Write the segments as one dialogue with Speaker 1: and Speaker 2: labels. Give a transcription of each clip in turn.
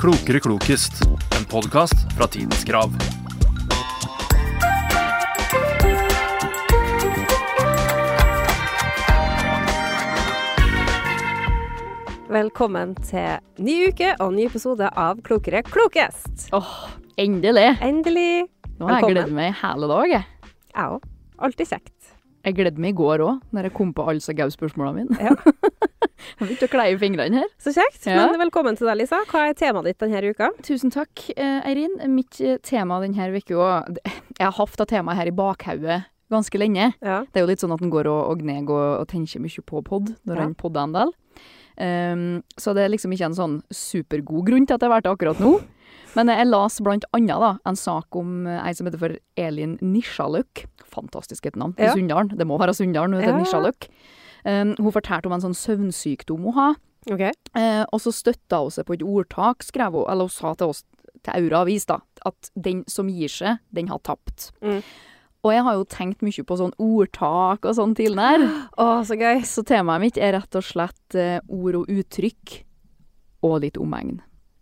Speaker 1: Klokere klokest, en podkast fra Tidens Krav.
Speaker 2: Velkommen til ny uke og ny episode av Klokere klokest.
Speaker 3: Åh, endelig!
Speaker 2: Endelig.
Speaker 3: Nå har jeg
Speaker 2: Velkommen.
Speaker 3: gledet meg i hele dag. Jeg
Speaker 2: Jeg òg. Alltid kjekt.
Speaker 3: Jeg gledet meg i går òg, når jeg kom på alle så gøye spørsmålene mine.
Speaker 2: Ja.
Speaker 3: Jeg begynte å kleie i fingrene her.
Speaker 2: Så kjekt.
Speaker 3: Ja.
Speaker 2: Men velkommen til deg, Lisa. Hva er temaet ditt denne uka?
Speaker 3: Tusen takk, eh, Eirin. Mitt eh, tema denne uka Jeg har hatt det temaet her i bakhauget ganske lenge.
Speaker 2: Ja.
Speaker 3: Det er jo litt sånn at en går og, og gneger og, og tenker mye på pod når
Speaker 2: Ja.
Speaker 3: en podder en del. Ehm, så det er liksom ikke en sånn supergod grunn til at jeg har vært det akkurat nå. Men jeg las blant annet da, en sak om eh, ei som heter for Elin Nisjaløk. Fantastisk et navn.
Speaker 2: Ja.
Speaker 3: I Sunndalen. Det må være Sunndalen, hun heter
Speaker 2: Ja.
Speaker 3: Nisjaløk. Ehm, hun fortalte om en sånn søvnsykdom hun har.
Speaker 2: OK.
Speaker 3: Eh, og så støtta hun seg på et ordtak, skrev hun, eller hun sa til oss til Aura Avis, da, at den som gir seg, den har tapt.
Speaker 2: Mm.
Speaker 3: Og jeg har jo tenkt mye på sånn ordtak og sånn tidligere,
Speaker 2: Å, så gøy.
Speaker 3: så temaet mitt er rett og slett eh, ord og uttrykk og litt omegn.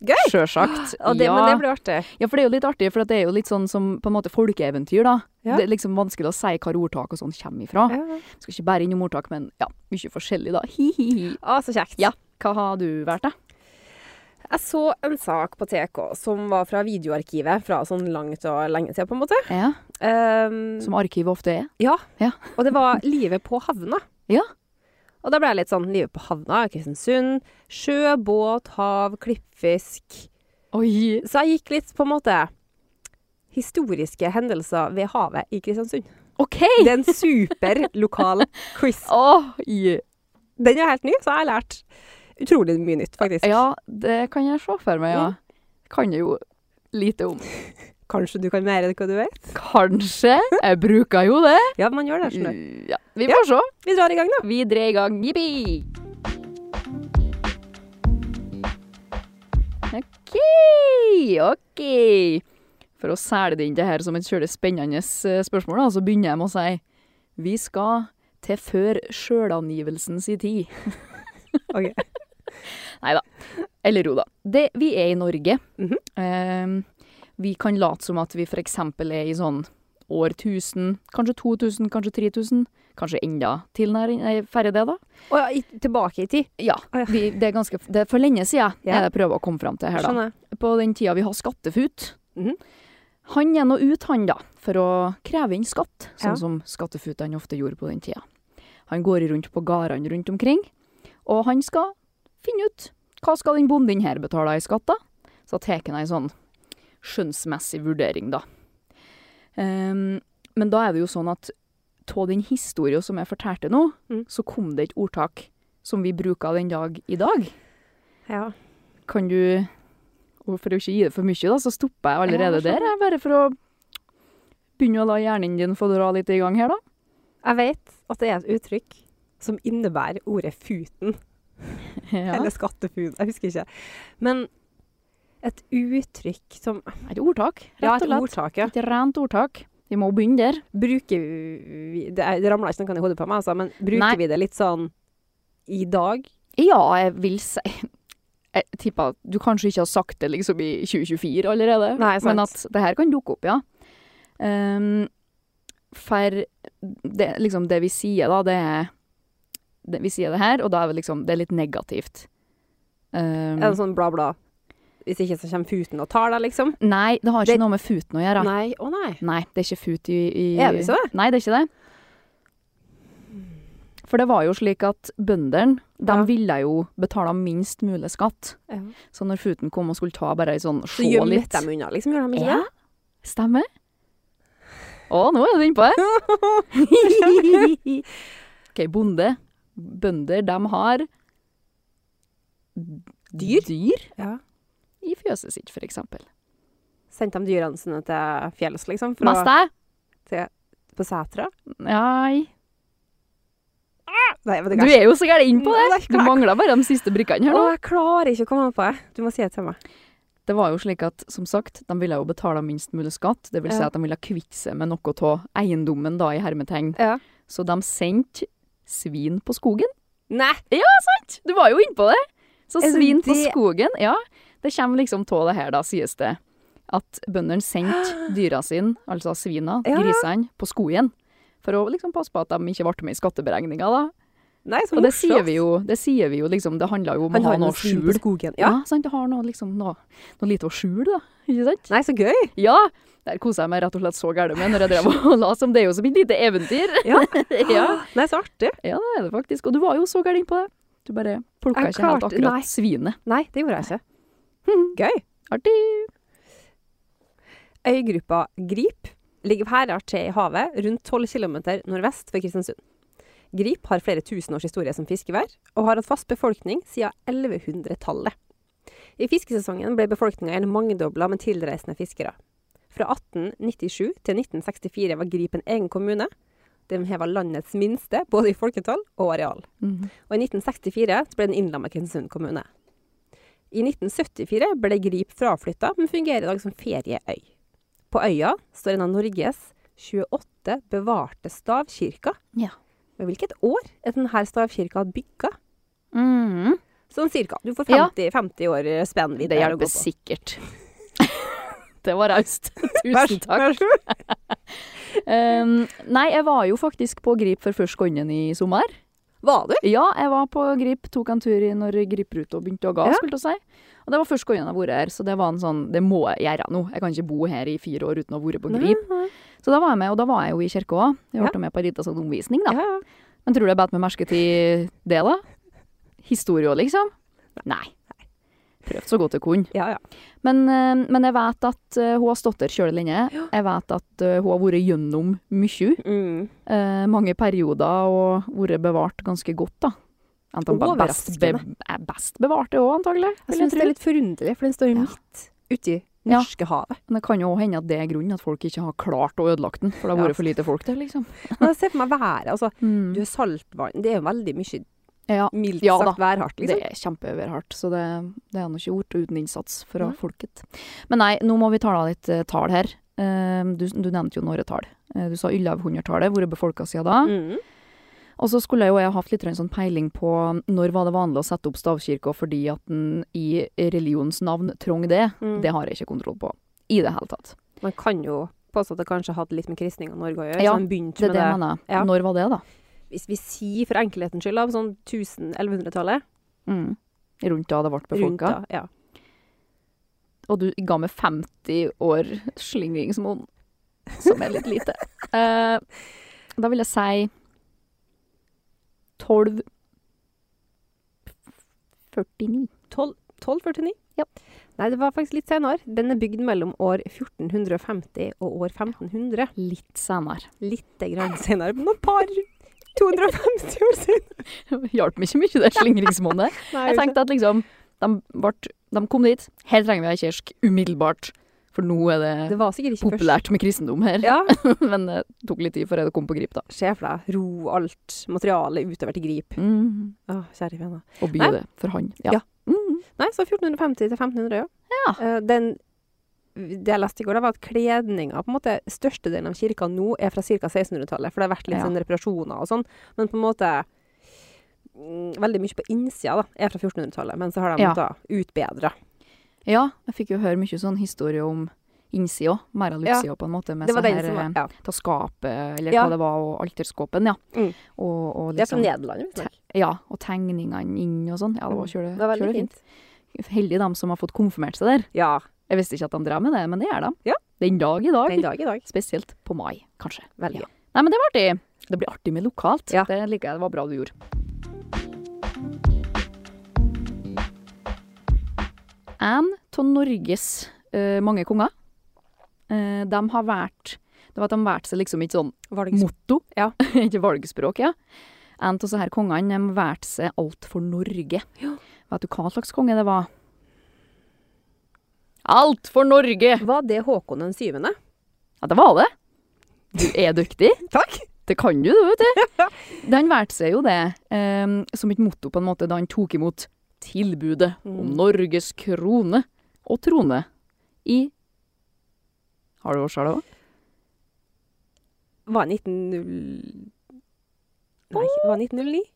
Speaker 2: Gøy!
Speaker 3: Sjølsagt.
Speaker 2: Å, det,
Speaker 3: ja.
Speaker 2: Men det blir artig.
Speaker 3: ja, for det er jo litt artig, for det er jo litt sånn som på en måte folkeeventyr, da.
Speaker 2: Ja.
Speaker 3: Det er liksom vanskelig å si hvor ordtak og sånn kommer ifra.
Speaker 2: Ja.
Speaker 3: Skal ikke bare innom ordtak, men ja, mye forskjellig, da. Hi-hi-hi.
Speaker 2: Å, så kjekt.
Speaker 3: Ja. Hva har du vært, da?
Speaker 2: Jeg så en sak på TK som var fra videoarkivet fra sånn langt og lenge siden, på en måte.
Speaker 3: Ja,
Speaker 2: Ehm,
Speaker 3: som arkivet ofte er.
Speaker 2: ja.
Speaker 3: Ja.
Speaker 2: Og det var livet på havna.
Speaker 3: Ja.
Speaker 2: Og da ble jeg litt sånn Livet på havna, Kristiansund. Sjø, båt, hav, klippfisk.
Speaker 3: Oi!
Speaker 2: Så jeg gikk litt på en måte historiske hendelser ved havet i Kristiansund.
Speaker 3: OK!
Speaker 2: Det er en super lokal quiz.
Speaker 3: Oi!
Speaker 2: Den er helt ny, så jeg har lært utrolig mye nytt, faktisk.
Speaker 3: Ja, det kan jeg se for meg, ja. Kan jeg jo lite om.
Speaker 2: Kanskje du kan mer enn hva du vet?
Speaker 3: Kanskje. Jeg bruker jo det.
Speaker 2: Ja, Mm. man gjør det. skjønner du.
Speaker 3: Ja, vi får se.
Speaker 2: Vi drar i gang, da.
Speaker 3: Vi drar i gang. Jippi! OK, OK. For å sæle det inn det her som et kjølig spennende eh, spørsmål, da, så begynner jeg med å si Vi skal til før sjølangivelsen si tid.
Speaker 2: Ok.
Speaker 3: Eller jo da. Det, vi er i Norge.
Speaker 2: Mhm.
Speaker 3: Eh, vi kan late som at vi f.eks. er i sånn år 1000, kanskje 2000, kanskje 3000. Kanskje enda tilnæring, nei, færre det, da.
Speaker 2: Og ja, i, tilbake i tid.
Speaker 3: Ja.
Speaker 2: Å ja.
Speaker 3: Vi, det, er ganske, det er for lenge siden
Speaker 2: Ja.
Speaker 3: er det jeg prøver å komme fram til her, da.
Speaker 2: Skjønner. jeg.
Speaker 3: På den tida vi har skattefut.
Speaker 2: Mhm.
Speaker 3: Han er nå ut, han da, for å kreve inn skatt, sånn
Speaker 2: Ja.
Speaker 3: som skattefutene ofte gjorde på den tida. Han går rundt på gårdene rundt omkring, og han skal finne ut hva skal den bonden her betale i skatt, da? Så tar han ei sånn skjønnsmessig vurdering, da. Ehm, men da er det jo sånn at av den historien som jeg fortalte nå,
Speaker 2: Mm.
Speaker 3: så kom det et ordtak som vi bruker den dag i dag.
Speaker 2: Ja.
Speaker 3: Kan du og For å ikke gi det for mye, da, så stopper jeg
Speaker 2: Ja,
Speaker 3: allerede
Speaker 2: skjønner.
Speaker 3: der. Jeg bare for å begynne å la hjernen din få dra litt i gang her, da.
Speaker 2: Jeg vet at det er et uttrykk som innebærer ordet futen,
Speaker 3: Ja.
Speaker 2: eller skattefun, jeg husker ikke. Men et uttrykk som
Speaker 3: Et ordtak, rett
Speaker 2: Ja,
Speaker 3: og
Speaker 2: et
Speaker 3: slett.
Speaker 2: ordtak, ja.
Speaker 3: Et rent ordtak. Vi må begynne der.
Speaker 2: Bruker vi Det, er- det ramla ikke noe i hodet på meg, altså, men bruker
Speaker 3: Nei.
Speaker 2: vi det litt sånn i dag?
Speaker 3: Ja, jeg vil si Jeg tipper at du kanskje ikke har sagt det liksom i 2024 allerede,
Speaker 2: Nei, sant.
Speaker 3: men at det her kan dukke opp, ja. Ehm, for det, liksom det vi sier, da, det er det, Vi sier det her, og da er det liksom Det er litt negativt. Ehm,
Speaker 2: Er det sånn bla, bla? Hvis ikke så kommer futen og tar deg, liksom?
Speaker 3: nei, det har ikke
Speaker 2: Det-
Speaker 3: noe med futen å gjøre.
Speaker 2: Nei.
Speaker 3: Nei.
Speaker 2: Å nei.
Speaker 3: det er ikke fut i, i
Speaker 2: Er det ikke det?
Speaker 3: Nei, det er ikke det. For det var jo slik at bøndene, de
Speaker 2: Ja.
Speaker 3: ville jo betale minst mulig skatt. Så når futen kom og skulle ta bare ei sånn
Speaker 2: Så
Speaker 3: sjå
Speaker 2: gjemte
Speaker 3: litt
Speaker 2: de unna, liksom? Gjør de ikke
Speaker 3: Ja,
Speaker 2: det?
Speaker 3: stemmer. Å, nå er du innpå her. OK, bonde. Bønder, de har
Speaker 2: Dyr?
Speaker 3: Dyr
Speaker 2: Ja.
Speaker 3: i fjøset sitt, for eksempel.
Speaker 2: Sendte de dyrene sine til fjells, liksom? Fra,
Speaker 3: Mest jeg?
Speaker 2: På setra?
Speaker 3: Nei.
Speaker 2: Nei, vet
Speaker 3: Du er jo så gæren innpå det.
Speaker 2: Nei, det er
Speaker 3: Du
Speaker 2: klart.
Speaker 3: mangler bare de siste brikkene her
Speaker 2: Å,
Speaker 3: nå.
Speaker 2: jeg klarer ikke å komme på det. Du må si det til meg.
Speaker 3: Det var jo slik at, som sagt, de ville jo betale minst mulig skatt. Det vil si
Speaker 2: Ja.
Speaker 3: at de ville kvitte seg med noe av eiendommen, da, i hermetegn.
Speaker 2: Ja.
Speaker 3: Så de sendte svin på skogen.
Speaker 2: Nei!
Speaker 3: Du var jo innpå det! Så
Speaker 2: Er det
Speaker 3: svin på
Speaker 2: det-
Speaker 3: skogen, ja. Det kommer liksom av det her, da, sies det, at bøndene sendte dyra sine, altså svina,
Speaker 2: Ja, ja.
Speaker 3: grisene, på skogen. For å liksom passe på at de ikke ble med i skatteberegninga, da.
Speaker 2: Nei, så
Speaker 3: Og det
Speaker 2: morsomt.
Speaker 3: sier vi jo, det sier vi jo liksom, det handler jo om
Speaker 2: Han
Speaker 3: å
Speaker 2: har
Speaker 3: ha noe
Speaker 2: noe
Speaker 3: å
Speaker 2: svin på
Speaker 3: skjule.
Speaker 2: skogen.
Speaker 3: Ja,
Speaker 2: Ja.
Speaker 3: sant, det har noe liksom, noe, noe lite å skjule, da. Ikke sant?
Speaker 2: Nei, så gøy.
Speaker 3: Ja! Der kosa jeg meg rett og slett så gæren med når jeg drev og la som det er jo som et lite eventyr.
Speaker 2: Ja.
Speaker 3: ja.
Speaker 2: Nei, så artig.
Speaker 3: Ja, det er det faktisk. Og du var jo så gæren på det. Du bare plukka
Speaker 2: Jeg
Speaker 3: ikke helt
Speaker 2: klarte-
Speaker 3: akkurat
Speaker 2: nei.
Speaker 3: svinet.
Speaker 2: Nei, det gjorde jeg ikke. Gøy.
Speaker 3: Artig.
Speaker 2: Øygruppa Grip ligger her er til i havet, rundt 12 km nordvest for Kristiansund. Grip har flere tusen års historie som fiskevær, og har hatt fast befolkning siden 1100-tallet. I fiskesesongen ble befolkninga igjen mangedobla med tilreisende fiskere. Fra 1897 til 1964 var Grip en egen kommune. Den heva landets minste, både i folketall og areal.
Speaker 3: Mhm.
Speaker 2: Og i 1964 så ble den innlemmet i Kristiansund kommune. I 1974 ble Grip fraflytta, men fungerer i dag som ferieøy. På øya står en av Norges 28 bevarte stavkirker.
Speaker 3: Ja.
Speaker 2: Men hvilket år er denne stavkirka bygga?
Speaker 3: Mhm.
Speaker 2: Sånn cirka. Du får
Speaker 3: Ja.
Speaker 2: 50, 50 år spennvidde.
Speaker 3: Det
Speaker 2: her å gå
Speaker 3: hjelper
Speaker 2: på.
Speaker 3: sikkert. det var raust.
Speaker 2: Vær-
Speaker 3: Tusen takk.
Speaker 2: vær så god.
Speaker 3: Um, nei, jeg var jo faktisk på Grip for første gangen i sommer.
Speaker 2: Var du?
Speaker 3: Ja, jeg var på Grip, tok en tur i når Gripruta begynte å ga,
Speaker 2: Ja.
Speaker 3: skulle jeg si. Og det var første gangen jeg har vært her, så det var en sånn Det må jeg gjøre nå. Jeg kan ikke bo her i fire år uten å ha vært på Grip.
Speaker 2: Nei,
Speaker 3: Så da var jeg med, og da var jeg jo i kirka òg. Jeg
Speaker 2: Ja.
Speaker 3: ble med på en liten sånn omvisning, da.
Speaker 2: Ja, ja.
Speaker 3: Men tror du jeg bet meg merke til det, da? Historie òg, liksom? Nei. Prøvde så godt jeg kunne.
Speaker 2: ja, ja.
Speaker 3: Men, eh, men jeg vet at eh, hun har stått der sjøl lenge. Jeg vet at eh, hun har vært gjennom mye.
Speaker 2: Mm.
Speaker 3: eh, mange perioder, og vært bevart ganske godt, da. Enten
Speaker 2: Og
Speaker 3: best, be, er best bevart det òg, antagelig.
Speaker 2: Jeg
Speaker 3: vil Jeg
Speaker 2: syns det er
Speaker 3: tro.
Speaker 2: litt forunderlig, for den står
Speaker 3: Ja.
Speaker 2: midt ute i
Speaker 3: Ja.
Speaker 2: Norskehavet.
Speaker 3: Men det kan jo også hende at det er grunnen at folk ikke har klart å ødelegge den, for det har
Speaker 2: Ja.
Speaker 3: vært for lite folk der, liksom.
Speaker 2: Men jeg ser for meg været. Altså,
Speaker 3: Mm.
Speaker 2: du har saltvann. Det er jo veldig mye
Speaker 3: Ja,
Speaker 2: mildt
Speaker 3: Ja
Speaker 2: sagt værhardt, liksom.
Speaker 3: Det er kjempeværhardt, så det, det er nå ikke gjort uten innsats fra
Speaker 2: Nei.
Speaker 3: folket. Men nei, nå må vi tale litt eh, tall her. Eh, du, du nevnte jo noen tall. Eh, du sa 1100-tallet, vært befolka siden da.
Speaker 2: Mm.
Speaker 3: Og så skulle jeg jo jeg hatt litt sånn peiling på når var det vanlig å sette opp stavkirka fordi at den i religions navn trong det.
Speaker 2: Mm.
Speaker 3: Det har jeg ikke kontroll på i det hele tatt.
Speaker 2: Man kan jo påstå at det kanskje hadde litt med kristning av Norge å gjøre.
Speaker 3: Ja,
Speaker 2: så man begynte
Speaker 3: Det er
Speaker 2: med
Speaker 3: det
Speaker 2: det.
Speaker 3: jeg mener.
Speaker 2: Ja.
Speaker 3: Når var det, da?
Speaker 2: Hvis vi sier for enkelhetens skyld, av sånn 1100-tallet
Speaker 3: Mm. Rundt da det ble
Speaker 2: rundt
Speaker 3: befolka.
Speaker 2: da, ja.
Speaker 3: Og du ga meg 50 år slingringsmonn, som er litt lite. Eh, da vil jeg si 12 49.
Speaker 2: 12, 1249?
Speaker 3: Ja.
Speaker 2: Nei, det var faktisk litt senere. Den er bygd mellom år 1450 og år 1500.
Speaker 3: Litt senere.
Speaker 2: Litt grann senere, men noen par 250 år siden.
Speaker 3: Hjalp meg ikke mye, det slingringsmonnet.
Speaker 2: Nei,
Speaker 3: Jeg tenkte at liksom, de, vart- de kom dit. Her trenger vi ei kirke umiddelbart, for nå er
Speaker 2: ikke.
Speaker 3: det
Speaker 2: det var sikkert ikke først.
Speaker 3: populært med kristendom her.
Speaker 2: Ja,
Speaker 3: Men eh, det tok litt tid før jeg kom på grip, da.
Speaker 2: Se for deg ro alt materialet utover til grip.
Speaker 3: Mm.
Speaker 2: Å, kjære vene.
Speaker 3: Og by
Speaker 2: Nei.
Speaker 3: det for han.
Speaker 2: Ja.
Speaker 3: Mm.
Speaker 2: Nei, så 1450 til 1500, ja.
Speaker 3: Ja.
Speaker 2: Eh, den, det jeg leste i går, da, var at kledninga på en måte, Størstedelen av kirka nå er fra ca. 1600-tallet, for det har vært litt
Speaker 3: Ja.
Speaker 2: sånn reparasjoner og sånn. Men på en måte mm, Veldig mye på innsida da, er fra 1400-tallet, men så har de
Speaker 3: Ja.
Speaker 2: da utbedra.
Speaker 3: Ja, jeg fikk jo høre mye sånn historie om innsida, mer av
Speaker 2: Ja.
Speaker 3: utsida på en måte, med
Speaker 2: Det var
Speaker 3: sånn
Speaker 2: den
Speaker 3: her
Speaker 2: som var
Speaker 3: eh,
Speaker 2: ja.
Speaker 3: ta skapet, eller
Speaker 2: Ja.
Speaker 3: hva det var, og alterskåpen, ja.
Speaker 2: Mm.
Speaker 3: Og, og
Speaker 2: Det er fra
Speaker 3: liksom,
Speaker 2: Nederland. visstnok.
Speaker 3: ja, og tegningene inn og sånn. Ja, det var kjøle,
Speaker 2: Det var veldig
Speaker 3: kjøle
Speaker 2: fint.
Speaker 3: fint. Heldig dem som har fått konfirmert seg der.
Speaker 2: Ja.
Speaker 3: Jeg visste ikke at de drev med det, men det gjør de.
Speaker 2: Ja.
Speaker 3: Den dag i dag.
Speaker 2: Den dag i dag.
Speaker 3: Spesielt på mai, kanskje.
Speaker 2: Veldig.
Speaker 3: Ja. Nei, men det var artig. Det blir artig med lokalt.
Speaker 2: Ja.
Speaker 3: Det liker jeg. Det var bra du gjorde. En av Norges eh, mange konger, eh, de har vært Det var at de valgte seg liksom ikke sånn
Speaker 2: Var det ikke
Speaker 3: motto.
Speaker 2: Ja.
Speaker 3: ikke valgspråk, ja. En av disse her kongene de valgte seg alt for Norge. Vet du hva slags konge det var? Alt for Norge!
Speaker 2: så- Var det Håkon den syvende?
Speaker 3: Ja, det var det. Du er dyktig.
Speaker 2: Takk!
Speaker 3: Det kan du, du, vet du. Han valgte seg jo det ehm, som et motto på en måte da han tok imot tilbudet om
Speaker 2: Mm.
Speaker 3: Norges krone og trone i Har du årstall òg?
Speaker 2: Var det 1909? Nei, var det 1909?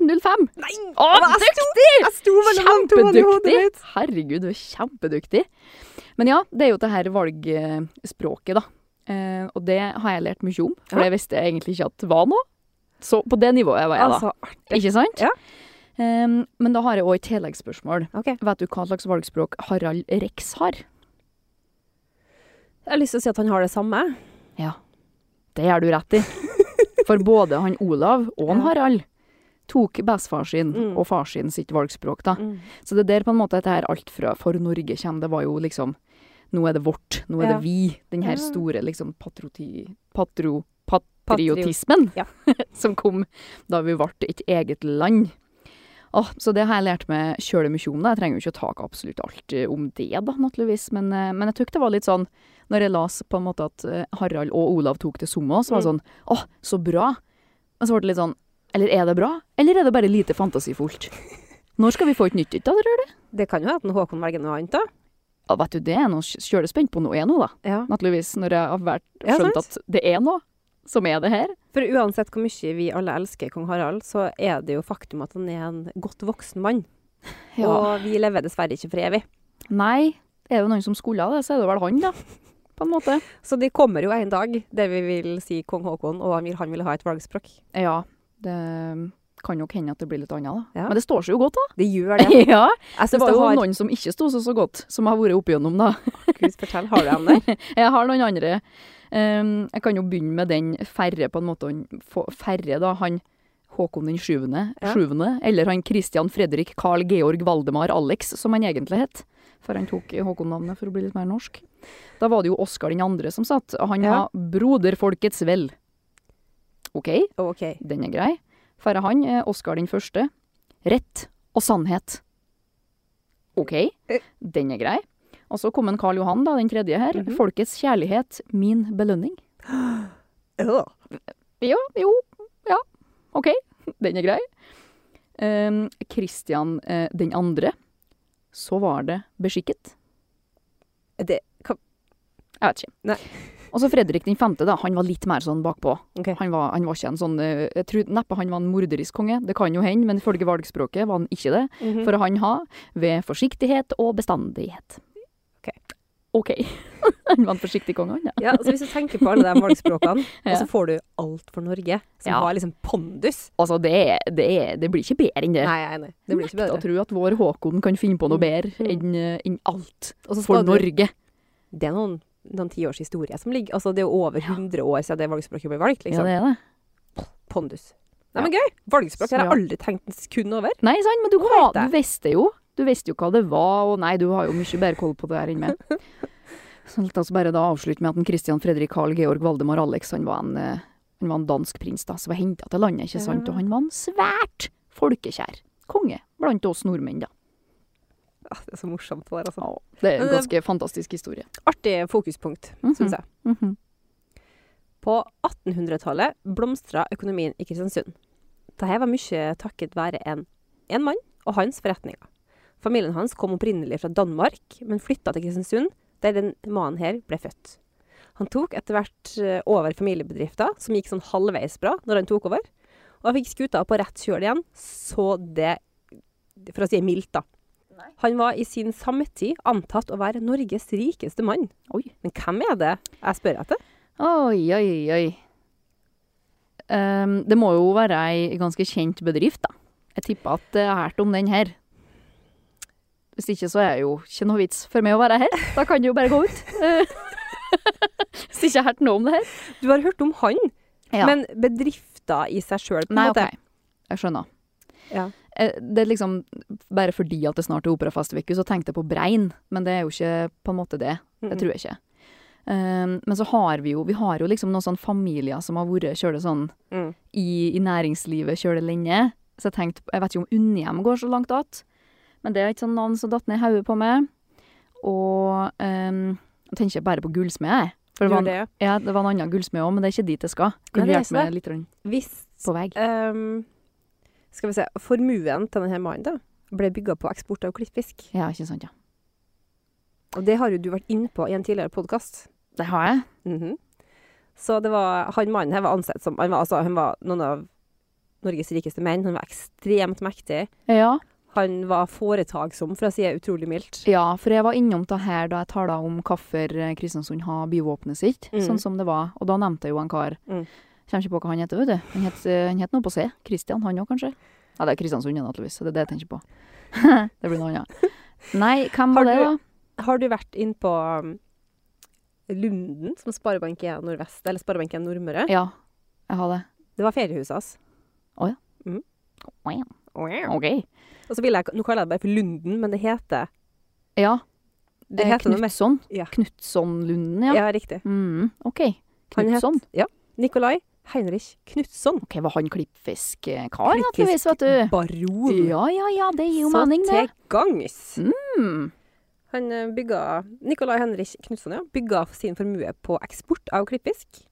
Speaker 3: 1805.
Speaker 2: Nei!
Speaker 3: Å,
Speaker 2: Hva?
Speaker 3: dyktig!
Speaker 2: Jeg sto mellom de to i hodet
Speaker 3: Kjempedyktig!
Speaker 2: mitt.
Speaker 3: Herregud, du er kjempedyktig. Men ja, det er jo det her valgspråket, da. Eh, og det har jeg lært mye om, for
Speaker 2: Ja.
Speaker 3: det visste jeg egentlig ikke at var noe. Så på det nivået var jeg, da.
Speaker 2: Altså, artig.
Speaker 3: Ikke sant?
Speaker 2: Ja.
Speaker 3: Ehm, men da har jeg òg et tilleggsspørsmål.
Speaker 2: Ok.
Speaker 3: Vet du hva slags valgspråk Harald Rex har?
Speaker 2: Jeg har lyst til å si at han har det samme.
Speaker 3: Det gjør du rett i. For både han Olav og han
Speaker 2: Ja.
Speaker 3: Harald tok bestefar sin
Speaker 2: Mm.
Speaker 3: og far sin sitt valgspråk, da.
Speaker 2: Mm.
Speaker 3: Så det er der på en måte dette her alt fra For Norge kommer, det var jo liksom Nå er det vårt, nå er
Speaker 2: Ja.
Speaker 3: det vi. Den
Speaker 2: Ja.
Speaker 3: her store liksom patroti... Patro... Patriotismen
Speaker 2: Ja.
Speaker 3: som kom da vi ble et eget land. Åh, så det har jeg lært meg sjøl mye om. da. Jeg trenger jo ikke å ta absolutt alt eh, om det, da, naturligvis. Men, eh, men jeg tykk det var litt sånn, når jeg las på en måte at eh, Harald og Olav tok til Somma,
Speaker 2: Mm.
Speaker 3: så var det sånn Åh, så bra! Og så ble det litt sånn Eller er det bra, eller er det bare lite fantasifullt? Når skal vi få et nytt ut av det, tror du?
Speaker 2: Det kan jo være at en Håkon velger noe annet, da.
Speaker 3: Ja, vet du, det er jeg nå kjølespent på nå, jeg nå, da.
Speaker 2: Ja.
Speaker 3: Naturligvis, når jeg har vært,
Speaker 2: Ja,
Speaker 3: skjønt
Speaker 2: sant.
Speaker 3: at det er noe som er det her.
Speaker 2: For uansett hvor mye vi alle elsker kong Harald, så er det jo faktum at han er en godt voksen mann.
Speaker 3: Og
Speaker 2: Og vi lever dessverre ikke for evig.
Speaker 3: nei, er det noen som skulle ha det, så er det vel han, da. På en måte.
Speaker 2: Så det kommer jo en dag der vi vil si kong Håkon, og han vil, han vil ha et valgspråk.
Speaker 3: Ja, det kan nok hende at det blir litt annet, da.
Speaker 2: Ja.
Speaker 3: Men det står seg jo godt, da.
Speaker 2: Det gjør det.
Speaker 3: ja,
Speaker 2: Jeg
Speaker 3: det
Speaker 2: synes
Speaker 3: var
Speaker 2: det
Speaker 3: jo
Speaker 2: har
Speaker 3: noen som ikke sto seg så godt, som har vært oppigjennom, da.
Speaker 2: Gud, fortell, har du ham der?
Speaker 3: Jeg har noen andre. Ehm, jeg kan jo begynne med den færre, på en måte. han- få- Færre, da. Han Håkon den sjuende,
Speaker 2: Ja.
Speaker 3: sjuende, eller han Christian Fredrik Carl Georg Valdemar Alex, som han egentlig het. For han tok Håkon-navnet for å bli litt mer norsk. Da var det jo Oskar den andre som satt, og han
Speaker 2: Ja.
Speaker 3: var broderfolkets vel. OK,
Speaker 2: OK.
Speaker 3: den er grei. For han er Oskar den første. Rett og sannhet. OK,
Speaker 2: Eh.
Speaker 3: den er grei. Og så kom en Karl Johan, da, den tredje her.
Speaker 2: Mhm.
Speaker 3: Folkets kjærlighet, min belønning.
Speaker 2: Øh.
Speaker 3: Jo, jo, ja. OK, den er grei. Um, Kristian eh, den andre. Så var det beskikket.
Speaker 2: Det, hva-
Speaker 3: Jeg vet ikke.
Speaker 2: Nei.
Speaker 3: Og så Fredrik den femte, da. Han var litt mer sånn bakpå.
Speaker 2: Ok.
Speaker 3: Han, var, han var ikke en sånn eh, Jeg tror neppe han var en morderisk konge, det kan jo hende, men ifølge valgspråket var han ikke det.
Speaker 2: Mhm.
Speaker 3: For han har ved forsiktighet og bestandighet.
Speaker 2: Ok.
Speaker 3: OK. han var en forsiktig konge, han, ja.
Speaker 2: Ja, så Hvis du tenker på alle de valgspråkene,
Speaker 3: Ja.
Speaker 2: og så får du alt for Norge, som
Speaker 3: Ja.
Speaker 2: har liksom pondus
Speaker 3: Altså, det, er- det, er- det blir ikke bedre enn det.
Speaker 2: Nei, jeg er enig. Det blir ikke
Speaker 3: Nekt å
Speaker 2: bedre.
Speaker 3: tro at vår Håkon kan finne på noe
Speaker 2: Mm.
Speaker 3: bedre
Speaker 2: Mm.
Speaker 3: enn eh, enn alt
Speaker 2: Og så
Speaker 3: for
Speaker 2: skal du,
Speaker 3: Norge.
Speaker 2: det er noen, noen tiårs historie som ligger Altså, det er jo over 100 år siden det valgspråket ble valgt, liksom.
Speaker 3: Ja, det er det.
Speaker 2: Pondus. Nei, men gøy! Valgspråk
Speaker 3: Så
Speaker 2: har jeg
Speaker 3: ja.
Speaker 2: aldri tenkt en sekund over.
Speaker 3: Nei, sant, men du,
Speaker 2: Hva
Speaker 3: hva,
Speaker 2: heter det?
Speaker 3: du visste jo. Du visste jo hva det var, og nei, du har jo mye bedre koll på det her enn meg. Så la oss bare da avslutte med at en Christian Fredrik Carl Georg Valdemar Alex, han var en, eh, han var en dansk prins da, som var henta til landet, ikke sant?
Speaker 2: Ja.
Speaker 3: Og han var en svært folkekjær konge blant oss nordmenn, da.
Speaker 2: Ah, det er så morsomt, det der, altså.
Speaker 3: Ja, det er
Speaker 2: Men
Speaker 3: en
Speaker 2: det-
Speaker 3: ganske fantastisk historie.
Speaker 2: Artig fokuspunkt,
Speaker 3: Mhm.
Speaker 2: syns jeg.
Speaker 3: Mhm.
Speaker 2: På 1800-tallet blomstra økonomien i Kristiansund. Dette var mye takket være en, en mann og hans forretninger. Familien hans kom opprinnelig fra Danmark, men flytta til Kristiansund, der den mannen her ble født. Han tok etter hvert eh, over familiebedrifter, som gikk sånn halvveis bra når han tok over. Og han fikk skuta på rett kjøl igjen, så det For å si det mildt, da. Han var i sin samtid antatt å være Norges rikeste mann.
Speaker 3: Oi.
Speaker 2: Men hvem er det jeg spør etter?
Speaker 3: Oi, oi, oi. Ehm, det må jo være ei ganske kjent bedrift, da. Jeg tipper at jeg har hørt om den her. Hvis ikke så er det jo ikke noe vits for meg å være her. Da kan det jo bare gå ut. Eh, Hvis ikke jeg har hørt noe om det her.
Speaker 2: Du har hørt om han,
Speaker 3: Ja.
Speaker 2: men bedrifter i seg sjøl, på en
Speaker 3: Nei,
Speaker 2: måte.
Speaker 3: ok. Jeg skjønner.
Speaker 2: Ja.
Speaker 3: Eh, Det er liksom bare fordi at det snart er operafestuke, så tenkte jeg på Brein, men det er jo ikke på en måte det. Det
Speaker 2: Mm.
Speaker 3: tror jeg ikke. Ehm, men så har vi jo, vi har jo liksom noen sånn familier som har vært kjøle sånn
Speaker 2: Mm.
Speaker 3: i, i næringslivet kjøle lenge. Så jeg tenkte, jeg vet ikke om Unnhjem går så langt att, men det er ikke sånn navn som datt ned i hodet på meg. Og ehm, jeg tenker bare på gullsmed, jeg. For det var,
Speaker 2: Gjør
Speaker 3: en,
Speaker 2: det.
Speaker 3: ja, det var en annen gullsmed òg, men det er ikke dit jeg skal. Kan
Speaker 2: Nei,
Speaker 3: du
Speaker 2: det er
Speaker 3: hjelpe
Speaker 2: ikke
Speaker 3: meg litt rundt
Speaker 2: Hvis
Speaker 3: på vei?
Speaker 2: ehm, Skal vi se Formuen til denne mannen da ble bygga på eksport av klippfisk.
Speaker 3: Ja, ikke sant, ja.
Speaker 2: Og det har jo du vært inne på i en tidligere Mhm. podkast.
Speaker 3: Det har jeg.
Speaker 2: Så det var, han mannen her var ansett som han var, altså, han var noen av Norges rikeste menn. Han var ekstremt mektig.
Speaker 3: Ja.
Speaker 2: Han var foretaksom, for å si det utrolig mildt.
Speaker 3: ja, for jeg var innom det her da jeg tala om hvorfor eh, Kristiansund har byvåpenet sitt,
Speaker 2: Mm.
Speaker 3: sånn som det var. Og da nevnte jeg jo en kar.
Speaker 2: Mm.
Speaker 3: Kjenner ikke på hva han heter, vet du. Han het, eh, han het noe på C. Kristian, han òg, kanskje? Ja, det er Kristiansund, ja, naturligvis. så Det er det jeg tenker på. det blir noe annet. Nei, hvem
Speaker 2: Har
Speaker 3: var det,
Speaker 2: du-
Speaker 3: da?
Speaker 2: Har du vært inn på um, Lunden, som Sparebank1 Nordvest, eller Sparebank1 Nordmøre?
Speaker 3: Ja, jeg har det.
Speaker 2: Det var feriehuset hans.
Speaker 3: OK.
Speaker 2: Og så vil jeg, Nå kaller jeg det bare for Lunden, men det heter
Speaker 3: Ja.
Speaker 2: Det
Speaker 3: eh,
Speaker 2: heter noe mer.
Speaker 3: Knutson.
Speaker 2: Ja.
Speaker 3: Knutsonlunden,
Speaker 2: Ja,
Speaker 3: ja.
Speaker 2: riktig.
Speaker 3: Mm, OK.
Speaker 2: Han het-
Speaker 3: Knutson.
Speaker 2: Nikolai Heinrich Knutson.
Speaker 3: OK, var han klippfiskkar,
Speaker 2: Klippfisk-
Speaker 3: naturligvis, vet du.
Speaker 2: Baron.
Speaker 3: Ja, ja, ja, det gir jo
Speaker 2: Så
Speaker 3: mening, det.
Speaker 2: til gangs.
Speaker 3: Mm.
Speaker 2: Han eh, bygga Nicolai Henrik Knutson ja, bygga sin formue på eksport av klippfisk.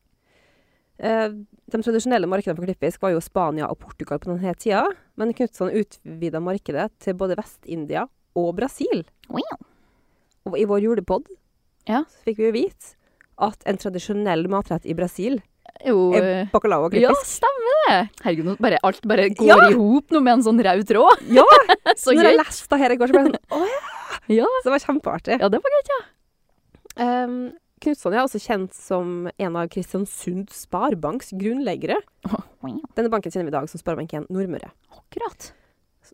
Speaker 2: Eh, De tradisjonelle markedene for klippfisk var jo Spania og Portugal på denne tida, men Knutson utvida markedet til både Vest-India og Brasil.
Speaker 3: Wow.
Speaker 2: Og i vår julepod
Speaker 3: Ja.
Speaker 2: så fikk vi jo vite at en tradisjonell matrett i Brasil
Speaker 3: Jo, eh,
Speaker 2: er bacalao og
Speaker 3: ja,
Speaker 2: klippfisk.
Speaker 3: stemmer det. Herregud, nå bare, alt bare går
Speaker 2: Ja.
Speaker 3: i hop nå med en sånn rød tråd.
Speaker 2: Ja,
Speaker 3: Så
Speaker 2: Når jeg
Speaker 3: gøy.
Speaker 2: leste det her i går, så ble jeg sånn Å ja!
Speaker 3: Ja.
Speaker 2: Så det var kjempeartig.
Speaker 3: Ja, det var greit, ja.
Speaker 2: Um, Knutson er også kjent som en av Kristiansund Sparebanks grunnleggere.
Speaker 3: Wow,
Speaker 2: Denne banken kjenner vi i dag som Sparebanken Nordmøre.
Speaker 3: Akkurat.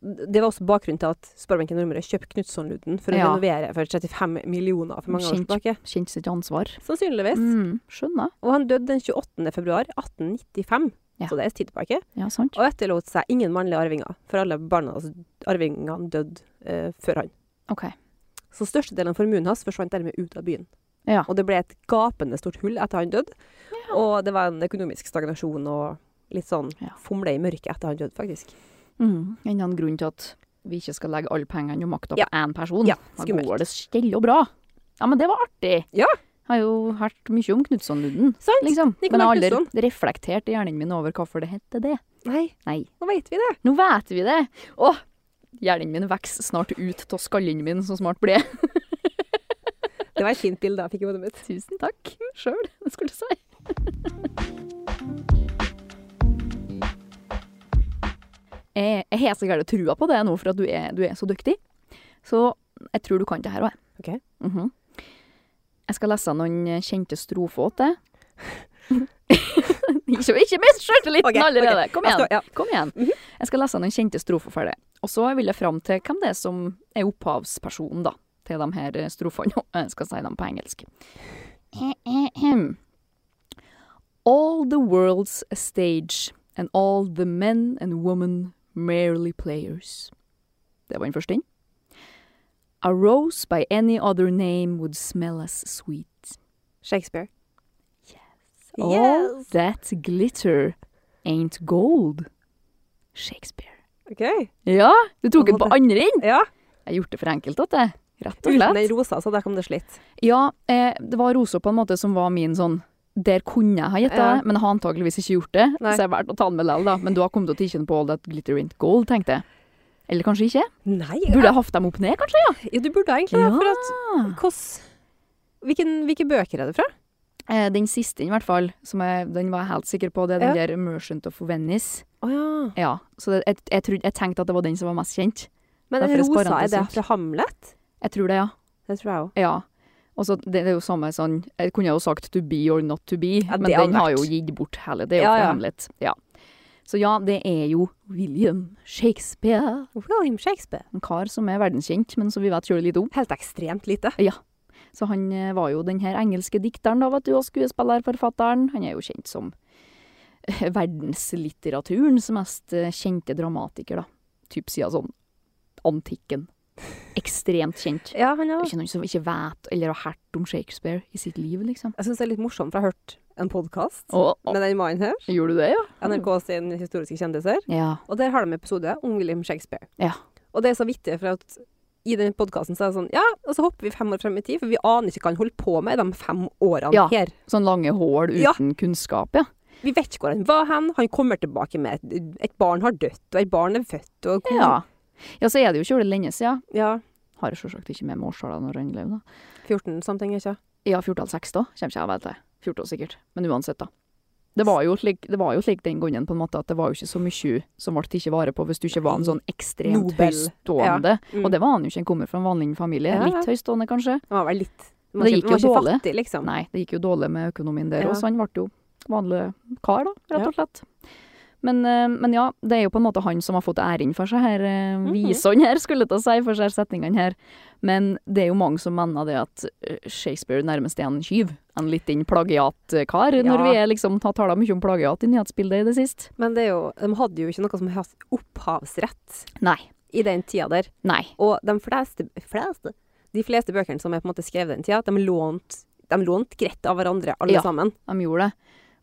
Speaker 2: Det var også bakgrunnen til at Sparebanken Nordmøre kjøpte Knutson-Luden for å
Speaker 3: Ja.
Speaker 2: renovere for 35 millioner for mange år
Speaker 3: Skjønt.
Speaker 2: tilbake.
Speaker 3: Kjente sitt ansvar.
Speaker 2: Sannsynligvis.
Speaker 3: Mm, skjønner.
Speaker 2: Og han døde den 28. februar 1895,
Speaker 3: Ja.
Speaker 2: så det er en tid tilbake.
Speaker 3: Ja, sant.
Speaker 2: Og etterlot seg ingen mannlige arvinger, for alle barna hans arvingene døde eh, før han.
Speaker 3: OK.
Speaker 2: Så størstedelen av formuen hans forsvant dermed ut av byen.
Speaker 3: Ja.
Speaker 2: Og det ble et gapende stort hull etter han døde. Og det var en økonomisk stagnasjon og litt sånn
Speaker 3: Ja.
Speaker 2: fomle i mørket etter han døde, faktisk.
Speaker 3: Mm. Enda en grunn til at vi ikke skal legge alle pengene og makta på
Speaker 2: Ja.
Speaker 3: én person.
Speaker 2: Ja,
Speaker 3: da
Speaker 2: skummelt.
Speaker 3: går det stille og bra. Ja, men det var artig.
Speaker 2: Ja.
Speaker 3: Jeg har jo hørt mye om Knutsonlunden,
Speaker 2: Sant?
Speaker 3: liksom. Men
Speaker 2: Nicolai
Speaker 3: jeg har aldri reflektert i hjernen min over hvorfor det heter det.
Speaker 2: Nei,
Speaker 3: Nei.
Speaker 2: nå vet vi det.
Speaker 3: Nå vet vi det! Å, hjernen min vokser snart ut av skallen min, så smart blir jeg.
Speaker 2: Det var et fint bilde jeg fikk i hodet mitt.
Speaker 3: Tusen takk sjøl, det skulle jeg si. Jeg jeg har så gæren trua på det nå, for at du er, du er så dyktig. Så jeg tror du kan det her òg.
Speaker 2: Ok.
Speaker 3: Jeg skal lese noen kjente strofer til deg. ikke, ikke mist sjøltilliten
Speaker 2: Ok, ok.
Speaker 3: allerede! Kom
Speaker 2: Jeg
Speaker 3: igjen!
Speaker 2: skal- ja.
Speaker 3: Kom igjen. Jeg skal lese noen kjente strofer for deg. Og så vil jeg fram til hvem det er som er opphavspersonen da, til de her eh, strofene. Nå, Jeg skal si dem på engelsk. All the world's a stage, and all the men and women merely players. Det var den første. A rose by any other name would smell as sweet.
Speaker 2: Shakespeare.
Speaker 3: All
Speaker 2: Yes.
Speaker 3: that glitter ain't gold. Shakespeare.
Speaker 2: OK.
Speaker 3: Ja, du tok den
Speaker 2: Og
Speaker 3: på andre inn.
Speaker 2: Ja.
Speaker 3: Jeg har gjort det for enkelt, at jeg. Rett og
Speaker 2: Uten
Speaker 3: slett.
Speaker 2: den rosa, så der kom det slitt.
Speaker 3: Ja, eh, det var rosa på en måte som var min sånn Der kunne jeg ha gjetta,
Speaker 2: Ja.
Speaker 3: det, men jeg har antageligvis ikke gjort det.
Speaker 2: Nei.
Speaker 3: Så jeg valgte å ta den med likevel, da. Men da kom du til å tikke den på all that glitter in gold, tenkte jeg. Eller kanskje ikke?
Speaker 2: Nei,
Speaker 3: Burde jeg hatt dem opp ned, kanskje?
Speaker 2: ja, du burde egentlig det. For at hvordan- Hvilken, hvilke bøker er det fra?
Speaker 3: Eh, den siste, i hvert fall, som jeg, den var jeg helt sikker på, det er den der Merchant of Venice.
Speaker 2: Å ja.
Speaker 3: Ja, så det, jeg, jeg, trodde- jeg tenkte at det var den som var mest kjent.
Speaker 2: Men
Speaker 3: Derfor er
Speaker 2: rosa, er
Speaker 3: Sparantes
Speaker 2: det
Speaker 3: ut.
Speaker 2: fra Hamlet?
Speaker 3: Jeg tror det, ja.
Speaker 2: Det tror jeg òg.
Speaker 3: Ja. Og så det, det er jo samme sånn Jeg kunne jo sagt to be or not to be,
Speaker 2: Ja,
Speaker 3: men
Speaker 2: det hadde
Speaker 3: den har jo
Speaker 2: vært.
Speaker 3: gitt bort hele. Det er jo
Speaker 2: Ja,
Speaker 3: fra
Speaker 2: ja.
Speaker 3: Hamlet. Ja. Så ja, det er jo William Shakespeare.
Speaker 2: William Shakespeare.
Speaker 3: En kar som er verdenskjent, men som vi vet sjøl litt om.
Speaker 2: Helt ekstremt lite.
Speaker 3: Så han eh, var jo den her engelske dikteren, da, vet du, og skuespiller, forfatteren. Han er jo kjent som eh, verdenslitteraturens mest eh, kjente dramatiker, da. Typ siden sånn antikken. Ekstremt kjent.
Speaker 2: Ja, han er
Speaker 3: Det er Ikke noen som ikke vet eller har hørt om Shakespeare i sitt liv, liksom.
Speaker 2: Jeg syns det er litt morsomt, for jeg har hørt en podkast
Speaker 3: Og,
Speaker 2: med den mannen her.
Speaker 3: Gjorde du det, ja?
Speaker 2: NRK sin Historiske kjendiser.
Speaker 3: Ja.
Speaker 2: Og der har de en episode om William Shakespeare.
Speaker 3: Ja.
Speaker 2: Og det er så vittig, for at i den podkasten så er det sånn Ja, og så hopper vi fem år frem i tid, for vi aner ikke hva han holder på med i de fem årene
Speaker 3: Ja.
Speaker 2: her.
Speaker 3: Sånn lange hål
Speaker 2: Ja.
Speaker 3: uten kunnskap, ja.
Speaker 2: Vi vet ikke hvor han var hen. Han kommer tilbake med et, et barn har dødt, og et barn er født, og
Speaker 3: Ja. Ja, så er det jo ikke veldig lenge siden.
Speaker 2: ja.
Speaker 3: Har jeg selvsagt ikke med meg årstallene når han levde, da.
Speaker 2: 14 something, ikke
Speaker 3: Ja, 1406 da, kommer ikke jeg vet det. 14 sikkert, men uansett da. Det var jo slik, det var jo slik den gangen på en måte at det var jo ikke så mye som ble tatt vare på hvis du ikke var en sånn ekstremt
Speaker 2: Nobel.
Speaker 3: høystående.
Speaker 2: Mm.
Speaker 3: Og det var han jo ikke, han kommer fra en vanlig familie.
Speaker 2: Ja, ja.
Speaker 3: Litt høystående, kanskje.
Speaker 2: Det var vel litt
Speaker 3: Men det gikk jo
Speaker 2: ikke
Speaker 3: dårlig.
Speaker 2: fattig, liksom.
Speaker 3: Nei, det gikk jo dårlig med økonomien der
Speaker 2: Ja.
Speaker 3: også. Han ble jo vanlig kar, da, rett og slett. Men, eh, men ja, det er jo på en måte han som har fått æren for seg her, eh,
Speaker 2: Mhm.
Speaker 3: visene her, skulle jeg til å si, for seg setningene her. Men det er jo mange som mener det at eh, Shakespeare nærmest er en skyv. En liten plagiatkar, når
Speaker 2: Ja.
Speaker 3: vi er liksom, har tala mye om plagiat i nyhetsbildet i det siste.
Speaker 2: Men det er jo, de hadde jo ikke noe som het opphavsrett
Speaker 3: Nei.
Speaker 2: i den tida der.
Speaker 3: Nei.
Speaker 2: Og de fleste, fleste, de fleste bøkene som er på en måte skrevet den tida, de lånte de lånte greit av hverandre, alle
Speaker 3: Ja.
Speaker 2: sammen.
Speaker 3: De gjorde det.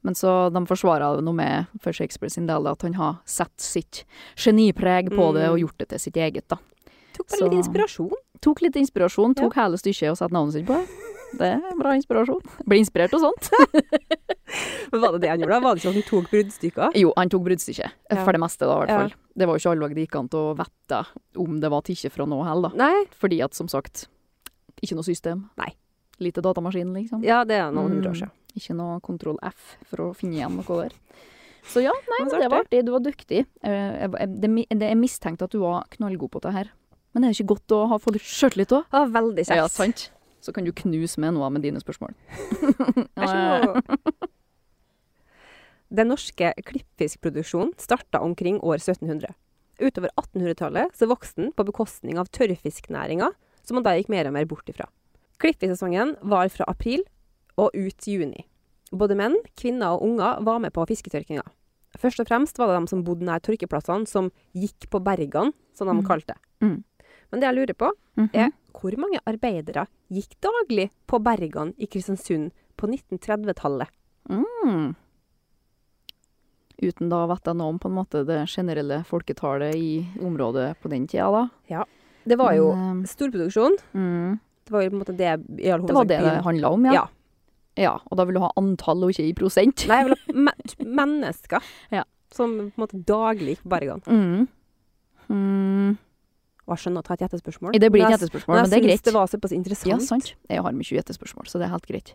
Speaker 3: Men så de forsvarer noe med for Shakespeare sin del at han har satt sitt genipreg på det
Speaker 2: Mm.
Speaker 3: og gjort det til sitt eget. da.
Speaker 2: Tok bare
Speaker 3: Så-
Speaker 2: litt inspirasjon.
Speaker 3: Tok litt inspirasjon, tok hele stykket og satte navnet sitt på det. Det er bra inspirasjon. Ble inspirert og sånt.
Speaker 2: Men var det det han gjorde? da? Var det ikke sånn at han tok bruddstykker?
Speaker 3: Jo, han tok bruddstykket.
Speaker 2: Ja.
Speaker 3: For det meste, da, i hvert
Speaker 2: Ja.
Speaker 3: fall. Det var jo ikke alle dager det gikk an til å vite om det var tikket fra noe heller, da.
Speaker 2: Nei.
Speaker 3: Fordi at, som sagt, ikke noe system.
Speaker 2: Nei.
Speaker 3: Lite datamaskin, liksom.
Speaker 2: Ja, det er noen hundre
Speaker 3: Mm.
Speaker 2: år siden.
Speaker 3: Ikke noe kontroll F for å finne igjen noe der. Så ja, nei,
Speaker 2: Men
Speaker 3: men
Speaker 2: så
Speaker 3: det var artig. Du var dyktig. Eh, jeg- jeg- Det mi- det er mistenkt at du var knallgod på det her. Men det er det ikke godt å ha fått sjøltillit òg?
Speaker 2: Det var veldig kjekt.
Speaker 3: Ja, sant. Så kan du knuse meg nå med dine spørsmål.
Speaker 2: Vær så god. eh, Den norske klippfiskproduksjonen starta omkring år 1700. Utover 1800-tallet så vokste den på bekostning av tørrfisknæringa, som man da gikk mer og mer bort ifra. Klippfisesongen var fra april og ut juni. Både menn, kvinner og unger var med på fisketørkinga. Først og fremst var det de som bodde nær tørkeplassene, som gikk på bergene, som de
Speaker 3: Mm.
Speaker 2: kalte det.
Speaker 3: Mm.
Speaker 2: Men det jeg lurer på,
Speaker 3: Mhm.
Speaker 2: Ja. hvor mange arbeidere gikk daglig på bergene i Kristiansund på 1930-tallet?
Speaker 3: Mm. Uten da å vite noe om på en måte det generelle folketallet i området på den tida, da.
Speaker 2: Det var jo
Speaker 3: Men, eh,
Speaker 2: storproduksjon.
Speaker 3: mm.
Speaker 2: Det var jo på en måte det i all
Speaker 3: Det var
Speaker 2: hovedsak
Speaker 3: det det
Speaker 2: byen-
Speaker 3: handla om, ja.
Speaker 2: Ja.
Speaker 3: Ja, Og da vil du ha antall og ikke i prosent.
Speaker 2: Nei, jeg vil ha me- mennesker
Speaker 3: Ja.
Speaker 2: som på en måte daglig gikk på bergene.
Speaker 3: Mm. Mm.
Speaker 2: Og jeg skjønner at det er et gjettespørsmål.
Speaker 3: Det blir
Speaker 2: Men
Speaker 3: ikke
Speaker 2: jeg-
Speaker 3: gjettespørsmål, men det er
Speaker 2: Jeg syns
Speaker 3: greit.
Speaker 2: det var såpass interessant.
Speaker 3: Ja, sant. Jeg har mye gjettespørsmål, så det er helt greit.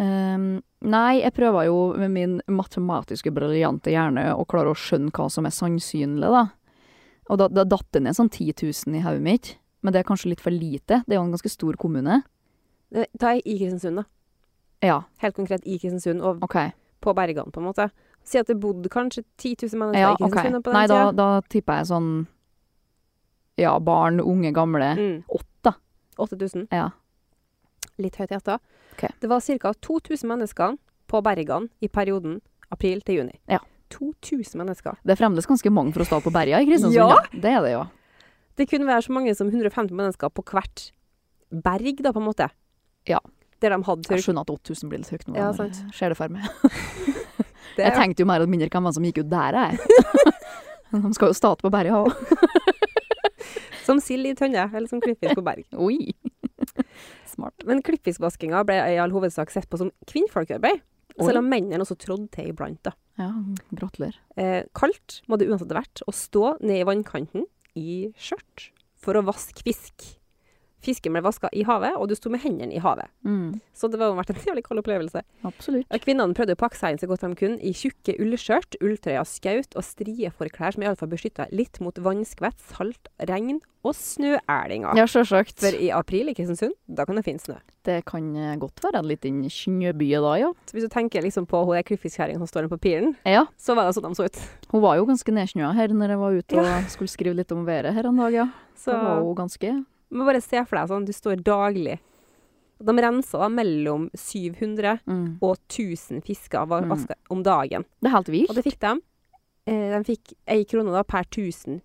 Speaker 3: Ehm, nei, jeg prøver jo med min matematiske briljante hjerne å klare å skjønne hva som er sannsynlig, da. Og da, da datt det ned sånn 10 000 i hodet mitt. Men det er kanskje litt for lite. Det er jo en ganske stor kommune.
Speaker 2: Det- Da er jeg Eh, i Kristiansund, da.
Speaker 3: Ja,
Speaker 2: Helt konkret i Kristiansund og
Speaker 3: OK.
Speaker 2: på bergene, på en måte. Si at det bodde kanskje 10 000 mennesker
Speaker 3: Ja,
Speaker 2: i
Speaker 3: ok.
Speaker 2: Kristiansund på den
Speaker 3: Nei, da,
Speaker 2: tida.
Speaker 3: da tipper jeg sånn Ja, barn, unge, gamle.
Speaker 2: Mm.
Speaker 3: Åtte.
Speaker 2: 8000.
Speaker 3: Ja.
Speaker 2: litt høyt gjetta.
Speaker 3: Ok.
Speaker 2: Det var ca. 2000 mennesker på Bergan i perioden april til juni.
Speaker 3: Ja.
Speaker 2: 2000 mennesker.
Speaker 3: Det er fremdeles ganske mange for å stå på berga i Kristiansund.
Speaker 2: Ja.
Speaker 3: ja. Det er det jo.
Speaker 2: Det kunne være så mange som 150 mennesker på hvert berg, da, på en måte.
Speaker 3: Ja.
Speaker 2: Der de hadde
Speaker 3: Jeg
Speaker 2: tørk.
Speaker 3: skjønner at 8000 blir litt høyt nå.
Speaker 2: Ja,
Speaker 3: når jeg
Speaker 2: sant.
Speaker 3: Ser det for meg.
Speaker 2: Det
Speaker 3: Jeg
Speaker 2: er-
Speaker 3: tenkte jo mer og mindre hvem var det som gikk ut der, jeg. De skal jo starte på berget òg.
Speaker 2: Som sild i tønne, eller som klippfisk på berg.
Speaker 3: Oi. Smart.
Speaker 2: Men klippfiskvaskinga ble i all hovedsak sett på som kvinnfolkarbeid,
Speaker 3: Oi.
Speaker 2: selv om mennene også trådde til iblant. da.
Speaker 3: Ja, gratulerer.
Speaker 2: Eh, kaldt må det uansett ha vært å stå ned i vannkanten i skjørt for å vaske fisk. Fisken ble vaska i havet, og du sto med hendene i havet. Så det har vært en jævlig kald opplevelse.
Speaker 3: absolutt.
Speaker 2: Og Kvinnene prøvde å pakke seg inn så godt de kunne i tjukke ullskjørt, ulltrøyer, skaut og strie forklær som iallfall beskytta litt mot vannskvett, salt, regn og snøælinger.
Speaker 3: Ja, sjølsagt.
Speaker 2: For i april i Kristiansund, da kan det finnes snø.
Speaker 3: Det kan eh, godt være en liten snøby da, ja.
Speaker 2: Så hvis du tenker liksom på hun der klippfiskkjerringa som står inne på piren,
Speaker 3: Ja,
Speaker 2: så var det sånn de så ut.
Speaker 3: hun var jo ganske nedsnøa her når jeg var ute og skulle skrive litt om været her en dag, ja.
Speaker 2: Så
Speaker 3: Så da var hun ganske
Speaker 2: men bare se for deg sånn, du står daglig. De rensa da mellom 700
Speaker 3: mm.
Speaker 2: og 1000 fisker var
Speaker 3: Mm.
Speaker 2: vaska om dagen.
Speaker 3: Det er helt
Speaker 2: Og
Speaker 3: vilt.
Speaker 2: det fikk de. Eh, De fikk ei krone da per 1000.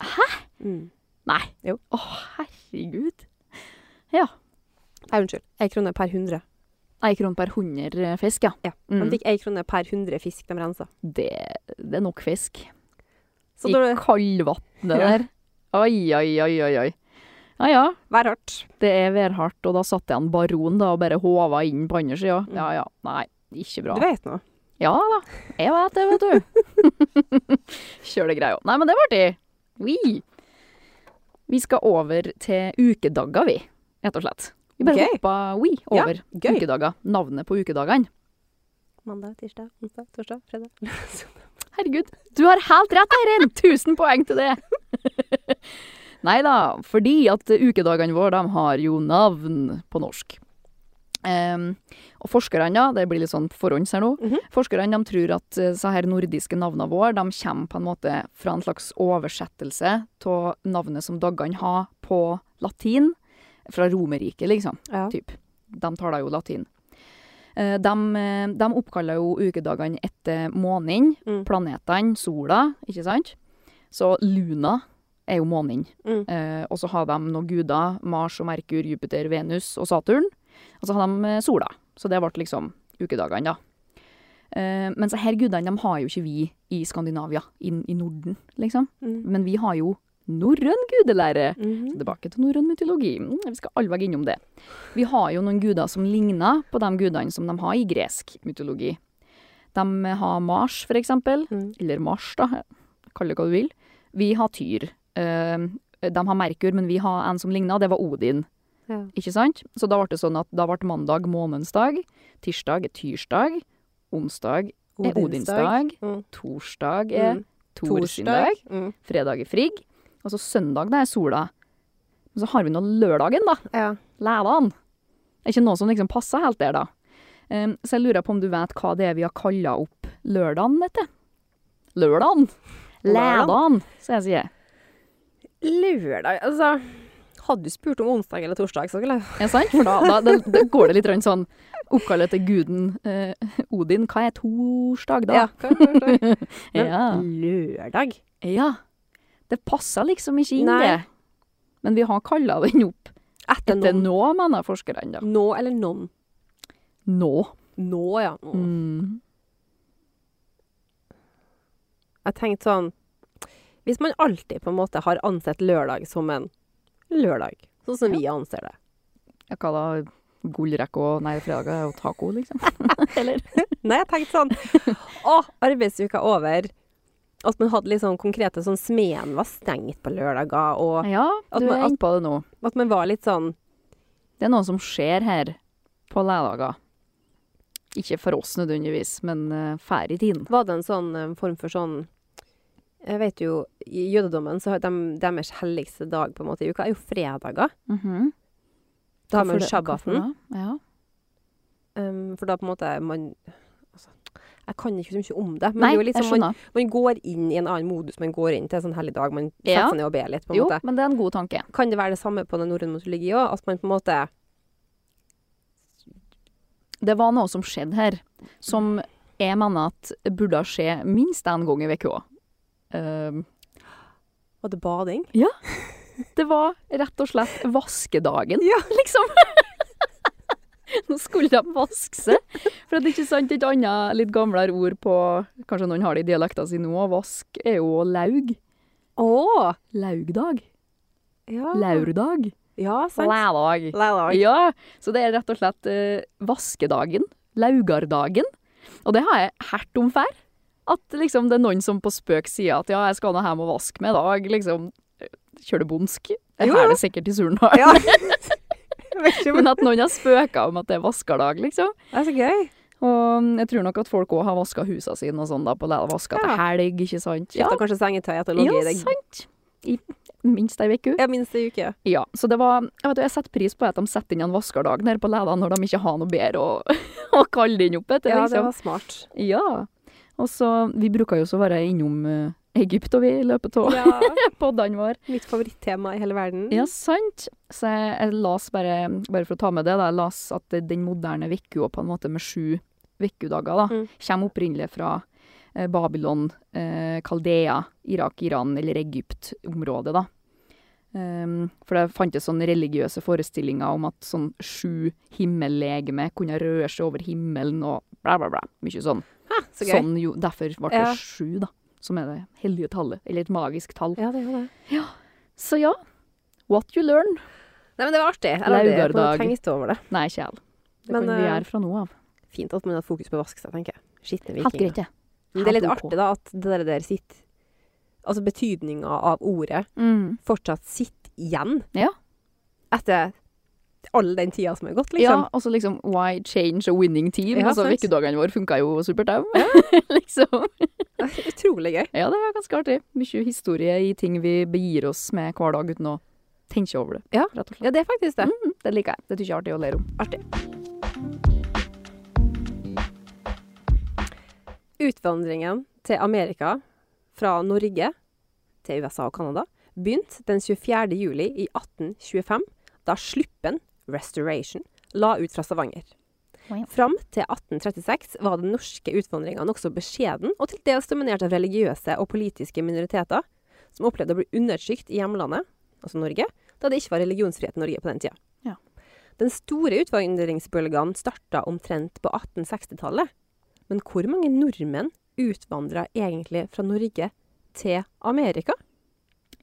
Speaker 2: Hæ? Mm.
Speaker 3: Nei.
Speaker 2: Jo.
Speaker 3: Å, herregud.
Speaker 2: Nei, unnskyld. Ei krone per hundre.
Speaker 3: Ei krone per 100 fisk, ja.
Speaker 2: Ja.
Speaker 3: Mm.
Speaker 2: De fikk ei krone per hundre fisk de rensa.
Speaker 3: Det, det er nok fisk.
Speaker 2: Så
Speaker 3: I
Speaker 2: da
Speaker 3: kaldvannet
Speaker 2: Ja.
Speaker 3: der. Oi, oi, oi, oi, oi. Ja, ja.
Speaker 2: vær hardt.
Speaker 3: Det er værhardt, og da satte jeg en baron da og bare håva inn på andre sida.
Speaker 2: Mm.
Speaker 3: Ja, ja. Nei, ikke bra.
Speaker 2: Du vet nå.
Speaker 3: Ja da. Jeg vet det, vet du. Kjør det greia. Nei, men det var artig. Vi. Vi skal over til ukedager, vi. Rett og slett. Vi bare
Speaker 2: Ok.
Speaker 3: hoppa we, over
Speaker 2: Gøy.
Speaker 3: ukedager. Navnet på ukedagene.
Speaker 2: mandag, tirsdag, onsdag, torsdag, fredag, lørdag, søndag.
Speaker 3: Herregud, du har helt rett, Eirin! 1000 poeng til det! Nei da, fordi at ukedagene våre de har jo navn på norsk. Ehm, og forskerne, da, det blir litt sånn på forhånds her nå,
Speaker 2: Mhm.
Speaker 3: forskerne de tror at eh, så her nordiske navnene våre de kommer på en måte fra en slags oversettelse av navnet som dagene har på latin, fra Romerriket, liksom
Speaker 2: Ja.
Speaker 3: typ. De taler jo latin. Eh, De, eh, de oppkaller jo ukedagene etter månen,
Speaker 2: Mm.
Speaker 3: planetene, sola, ikke sant? Så Luna er jo månen.
Speaker 2: Mm.
Speaker 3: Eh, og så har de noen guder, Mars og Merkur, Jupiter, Venus og Saturn. Og så har de eh, sola. Så det ble liksom ukedagene, da. Eh, men så her gudene de har jo ikke vi i Skandinavia, i, i Norden, liksom.
Speaker 2: Mm.
Speaker 3: Men vi har jo norrøn gudelære.
Speaker 2: Mhm.
Speaker 3: Tilbake til norrøn mytologi. Mm, Vi skal allveg innom det. Vi har jo noen guder som ligner på de gudene som de har i gresk mytologi. De har Mars, for eksempel.
Speaker 2: Mm.
Speaker 3: Eller Mars, da. Kall det hva du vil. Vi har Tyr. Eh, De har Merkur, men vi har en som ligner, og det var Odin.
Speaker 2: Ja.
Speaker 3: Ikke sant? Så da ble det sånn at da ble mandag månens dag, tirsdag er tyrsdag, onsdag
Speaker 2: Eh,
Speaker 3: er Odins dag,
Speaker 2: Mm.
Speaker 3: torsdag er
Speaker 2: Mm.
Speaker 3: Thor sin dag,
Speaker 2: Mm.
Speaker 3: fredag er frigg, og så søndag det er sola. Men så har vi nå lørdagen, da.
Speaker 2: Ja.
Speaker 3: Lærdagen. Det er ikke noe som liksom passer helt der, da. Ehm, så jeg lurer på om du vet hva det er vi har kalla opp lørdagen etter? Lørdagen! Lærdagen, som jeg sier.
Speaker 2: Lørdag, altså Hadde du spurt om onsdag eller torsdag, så skulle jeg
Speaker 3: Er det sant? For da, da, da, da går det litt grann sånn Oppkall etter guden eh, Odin. Hva er torsdag, da?
Speaker 2: Ja, hva er torsdag? Men
Speaker 3: ja.
Speaker 2: lørdag?
Speaker 3: Ja. Det passer liksom ikke inn,
Speaker 2: Nei.
Speaker 3: det. Men vi har kalla den opp
Speaker 2: Etter
Speaker 3: etter
Speaker 2: noen.
Speaker 3: nå, mener forskerne. da.
Speaker 2: Nå eller noen?
Speaker 3: Nå.
Speaker 2: Nå, ja. Mm.
Speaker 3: Mm.
Speaker 2: Jeg tenkte sånn Hvis man alltid på en måte har ansett lørdag som en lørdag, sånn som vi anser det
Speaker 3: Ja, hva da? Gullrekke og Nei, fredag er jo taco, liksom.
Speaker 2: Nei, jeg tenkte sånn Å, arbeidsuka over. At man hadde litt sånn konkrete sånn Smeden var stengt på lørdager, og
Speaker 3: Ja,
Speaker 2: At
Speaker 3: du
Speaker 2: man-
Speaker 3: er
Speaker 2: at-
Speaker 3: inne på det nå.
Speaker 2: at man var litt sånn
Speaker 3: Det er noe som skjer her på lørdager. Ikke for oss nødvendigvis, men eh, fær i tiden.
Speaker 2: Var det en sånn eh, form for sånn Jeg vet jo, i jødedommen så har de, deres helligste dag på en måte i uka er jo fredager.
Speaker 3: Mhm.
Speaker 2: Da har
Speaker 3: Hvorfor
Speaker 2: man
Speaker 3: det-
Speaker 2: shabbaten.
Speaker 3: hvorfor det? Ja.
Speaker 2: Um, for da på en måte er man altså, Jeg kan ikke så mye om det. Men det
Speaker 3: Nei,
Speaker 2: er jo litt
Speaker 3: jeg
Speaker 2: sånn, man,
Speaker 3: skjønner.
Speaker 2: man går inn i en annen modus. Man går inn til en sånn hellig dag. Man setter
Speaker 3: Ja.
Speaker 2: seg ned og ber litt, på en
Speaker 3: Jo,
Speaker 2: måte.
Speaker 3: men det er en god tanke.
Speaker 2: Kan det være det samme på den norrøne mytologien òg? At man på en måte
Speaker 3: Det var noe som skjedde her, som jeg mener at burde skje minst en gang i uka. Eh,
Speaker 2: Var det bading?
Speaker 3: Det var rett og slett vaskedagen,
Speaker 2: Ja.
Speaker 3: liksom. Nå skulle de vaske seg. For at det er ikke sant, et annet litt gamlere ord på Kanskje noen har det i dialekta si nå. Vask er jo laug.
Speaker 2: Å!
Speaker 3: Laugdag.
Speaker 2: Ja.
Speaker 3: Laurdag.
Speaker 2: Ja, sant.
Speaker 3: Lædag.
Speaker 2: Lærdag.
Speaker 3: Ja, så det er rett og slett eh, vaskedagen. Laugardagen. Og det har jeg hørt om før. At liksom det er noen som på spøk sier at ja, jeg skal nå hjem og vaske meg i dag, liksom. Kjør det bondsk. Jeg
Speaker 2: Jo,
Speaker 3: har
Speaker 2: jo.
Speaker 3: det sikkert i Surnadal.
Speaker 2: Ja. Jeg vet ikke om-
Speaker 3: Men at noen har spøka om at det er vaskerdag, liksom.
Speaker 2: Det er så gøy.
Speaker 3: Og mm, jeg tror nok at folk òg har vaska husene sine og sånn da, på lærdag. Vaska
Speaker 2: Ja.
Speaker 3: til helg, ikke sant?
Speaker 2: Skifta kanskje sengetøy etter å ligge
Speaker 3: ja
Speaker 2: i det
Speaker 3: sant. I minst ei uke.
Speaker 2: Ja, minst ei uke.
Speaker 3: Ja. Så det var Jeg vet du, jeg setter pris på at de setter inn en vaskerdag nede på lærdag når de ikke har noe bedre å, å kalle det inn opp etter,
Speaker 2: Ja, det
Speaker 3: liksom.
Speaker 2: var smart.
Speaker 3: Ja. Og så Vi bruker jo så å være innom eh, Egypt og vi i løpet av
Speaker 2: Ja.
Speaker 3: poddene våre.
Speaker 2: Mitt favorittema i hele verden.
Speaker 3: Ja, sant. Så jeg, jeg las bare, bare for å ta med det, da, jeg las at det- den moderne uka på en måte med sju ukedager da,
Speaker 2: Mm.
Speaker 3: kommer opprinnelig fra eh, Babylon, eh, Kaldea, Irak, Iran eller Egypt-området da. Ehm, for det fantes sånne religiøse forestillinger om at sånn sju himmellegeme kunne røre seg over himmelen og bla bla bla, mye sånn.
Speaker 2: Hæ, så gøy.
Speaker 3: sånn jo, derfor ble det
Speaker 2: Ja.
Speaker 3: sju da, som er det hellige tallet, eller et magisk tall.
Speaker 2: Ja, det er jo det.
Speaker 3: Så ja, what you learn.
Speaker 2: Nei, men det var artig. Eller det, jeg
Speaker 3: Laugardag.
Speaker 2: hadde tenkt over det.
Speaker 3: Nei, ikke jeg. Det
Speaker 2: Men,
Speaker 3: kan vi
Speaker 2: eh,
Speaker 3: gjøre fra nå av.
Speaker 2: Fint at man hadde fokus på å vaske seg, tenker jeg. Skitne
Speaker 3: Helt
Speaker 2: vikinger.
Speaker 3: greit, det.
Speaker 2: Men det er litt
Speaker 3: Helt ok.
Speaker 2: artig, da, at det der, der sitter Altså betydninga av ordet
Speaker 3: Mm.
Speaker 2: fortsatt sitter igjen.
Speaker 3: Ja.
Speaker 2: Etter all den tida som er gått,
Speaker 3: Ja,
Speaker 2: liksom.
Speaker 3: og så liksom Why change a winning team?
Speaker 2: Ja,
Speaker 3: altså,
Speaker 2: sant.
Speaker 3: Vekkedagene våre funka jo supert, dem. liksom.
Speaker 2: Utrolig gøy.
Speaker 3: Ja, det er ganske artig. Mye historie i ting vi begir oss med hver dag uten å tenke over det.
Speaker 2: Ja.
Speaker 3: rett og slett.
Speaker 2: Ja, det er faktisk det.
Speaker 3: Mm, det liker jeg. Det syns jeg er artig å lære om.
Speaker 2: Artig. Utvandringen til Amerika fra Norge til USA og Canada begynte den 24. juli i 1825, da Sluppen Restoration la ut fra Stavanger.
Speaker 3: Wow.
Speaker 2: Fram til 1836 var den norske utvandringa nokså beskjeden og til dels dominert av religiøse og politiske minoriteter, som opplevde å bli undertrykt i hjemlandet, altså Norge, da det ikke var religionsfrihet i Norge på den tida. Den store utvandringsbølgen starta omtrent på 1860-tallet. Men hvor mange nordmenn utvandra egentlig fra Norge til Amerika?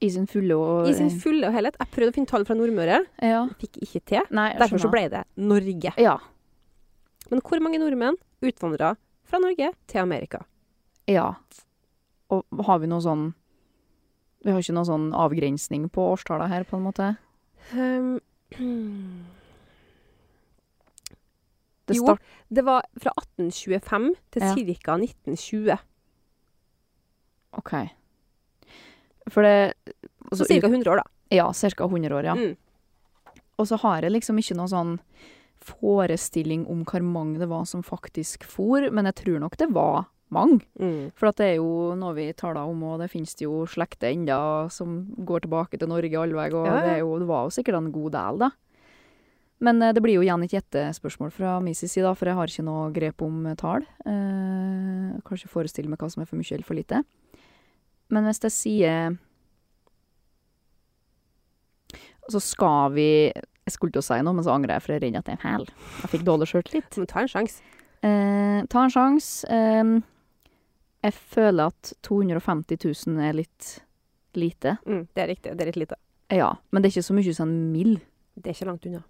Speaker 3: I sin fulle og
Speaker 2: I sin fulle og helhet. Jeg prøvde å finne tall fra Nordmøre,
Speaker 3: Ja.
Speaker 2: fikk ikke til.
Speaker 3: Nei, jeg
Speaker 2: Derfor så
Speaker 3: skjønner.
Speaker 2: ble det Norge.
Speaker 3: Ja.
Speaker 2: Men hvor mange nordmenn utvandra fra Norge til Amerika?
Speaker 3: Ja. Og har vi noe sånn Vi har ikke noe sånn avgrensning på årstallene her, på en måte?
Speaker 2: Ehm,
Speaker 3: Det
Speaker 2: Jo.
Speaker 3: start,
Speaker 2: det var fra 1825 til
Speaker 3: Ja.
Speaker 2: ca. 1920.
Speaker 3: OK. For det
Speaker 2: Så
Speaker 3: altså,
Speaker 2: ca. 100 år, da.
Speaker 3: ut- Ja, ca. 100 år, ja.
Speaker 2: Mm.
Speaker 3: Og så har jeg liksom ikke noe sånn forestilling om hvor mange det var som faktisk for, men jeg tror nok det var mange.
Speaker 2: Mm.
Speaker 3: For at det er jo noe vi taler om, og det finnes det jo slekter enda som går tilbake til Norge alle vei, og
Speaker 2: Ja, ja.
Speaker 3: Det, er jo, det var jo sikkert en god del, da. Men eh, det blir jo igjen et gjettespørsmål fra min side, da, for jeg har ikke noe grep om eh, tall. Eh, kanskje forestille meg hva som er for mye eller for lite. Men hvis jeg sier Så skal vi Jeg skulle til å si noe, men så angrer jeg, for jeg er redd at det er en hæl. Jeg fikk dårlig sjøltillit.
Speaker 2: Så må du ta en sjanse.
Speaker 3: Eh, ta en sjanse. Eh, jeg føler at 250 000 er litt lite.
Speaker 2: Mm, det er riktig. Det er litt lite.
Speaker 3: Ja, men det er ikke så mye som en mill.
Speaker 2: Det er ikke langt unna.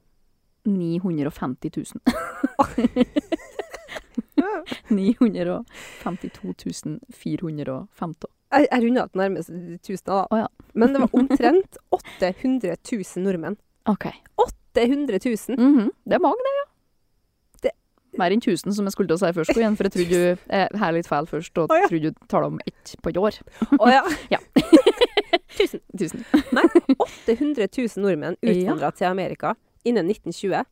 Speaker 3: 950 000. 952 450.
Speaker 2: Jeg, jeg runda til nærmest 1000, da.
Speaker 3: Å ja.
Speaker 2: Men det var omtrent 800 000 nordmenn.
Speaker 3: OK.
Speaker 2: 800 000!
Speaker 3: Mhm, Det er mange, det, ja.
Speaker 2: Det-
Speaker 3: Mer enn 1000, som jeg skulle til å si først, igjen, for jeg trodde du eh, her litt feil først, og
Speaker 2: Å, ja.
Speaker 3: trodde du talte om ett på et år.
Speaker 2: Å ja.
Speaker 3: Ja.
Speaker 2: 1000.
Speaker 3: 1000.
Speaker 2: 800 000 nordmenn utvandra til Amerika innen 1920.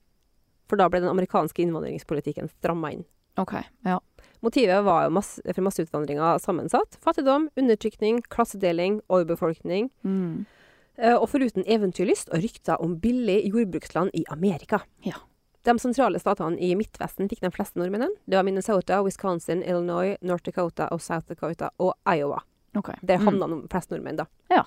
Speaker 2: For da ble den amerikanske innvandringspolitikken stramma inn.
Speaker 3: OK. Ja.
Speaker 2: Motivet var jo masse, for masseutvandringa sammensatt. Fattigdom, undertrykning, klassedeling, overbefolkning.
Speaker 3: Mm.
Speaker 2: Eh, Og foruten eventyrlyst og rykter om billig jordbruksland i Amerika.
Speaker 3: Ja.
Speaker 2: De sentrale statene i Midtvesten fikk de fleste nordmennene. Det var Minnesota, Wisconsin, Illinois, North Dakota og South Dakota og Iowa.
Speaker 3: OK.
Speaker 2: Der
Speaker 3: Mm.
Speaker 2: havna de fleste nordmenn, da.
Speaker 3: Ja.